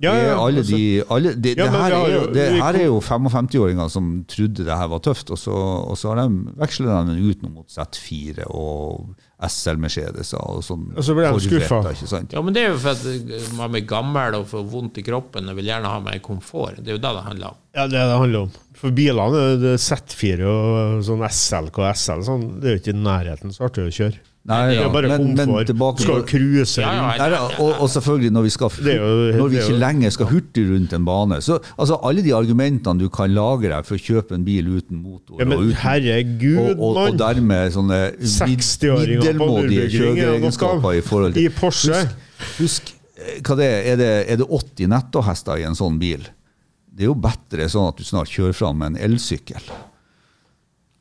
S3: Ja,
S4: det
S3: ja, altså.
S4: er alle de, alle, det,
S3: Ja,
S4: det,
S3: men vi har
S4: her er jo,
S3: jo-
S4: det
S3: vi-
S4: her er jo 55-åringer som trodde det her var tøft, og så, og så har de, veksler de den ut nå mot Z4 og SL Mercedeser og sånn.
S3: Og så blir de
S4: Corvetter,
S3: skuffa.
S4: ikke sant?
S1: Ja, men det er jo for at man blir gammel og får vondt i kroppen og vil gjerne ha mer komfort. Det er jo det det handler om.
S3: Ja, det er det det handler om. For bilene det er Z4 og sånn SLK og SL sånn, det er jo ikke i nærheten så artig å kjøre.
S4: Nei,
S3: Det er
S4: ja,
S3: jo bare
S4: men- men
S3: komfort.
S4: tilbake-
S3: Du skal jo cruise.
S1: Ja, ja,
S3: rundt.
S4: Nei, da, og, og selvfølgelig, når vi, skal,
S3: Det er jo-
S4: når vi
S3: det er
S4: ikke
S3: jo-
S4: lenger skal hurtig rundt en bane så, altså Alle de argumentene du kan lage deg for å kjøpe en bil uten motor
S3: Ja, men
S4: og, uten, og,
S3: herregud,
S4: og, og
S3: mann!
S4: dermed sånne mid-
S3: 60-åringer på Nürburgring er
S4: middelmådige
S3: jo noe.
S4: kjøreegenskaper i forhold
S3: I
S4: til
S3: Porsche.
S4: Husk, husk eh, hva det er, er det, er det 80 nettohester i en sånn bil? Det er jo bedre sånn at du snart kjører fram med en elsykkel.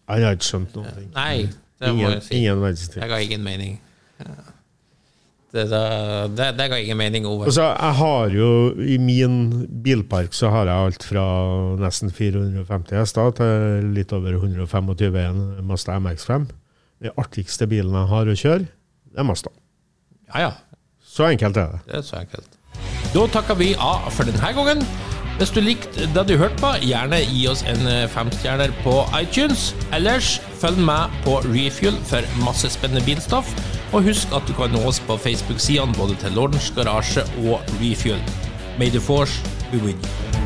S3: Jeg har ikke skjønt noen ting.
S1: Nei, det må
S3: Ingen,
S1: jeg si.
S3: ingen verdens ting.
S1: Det ga ingen mening. Ja. Det, det, det, det ga ingen mening, Ove.
S3: Altså, jeg har jo I min bilpark så har jeg alt fra nesten 450 hester til litt over 125 i en Mazda MX5. Den artigste bilen jeg har å kjøre, det er Mazda.
S1: Ja, ja.
S3: Så enkelt er det.
S1: Det er så enkelt. Da takker vi av for denne gangen. Hvis du likte det du hørte på, gjerne gi oss en eh, femstjerner på iTunes. Ellers følg med på Refuel for masse spennende bilstoff. Og husk at du kan nå oss på Facebook-sidene både til Lordens Garasje og Refuel. May the force be with you.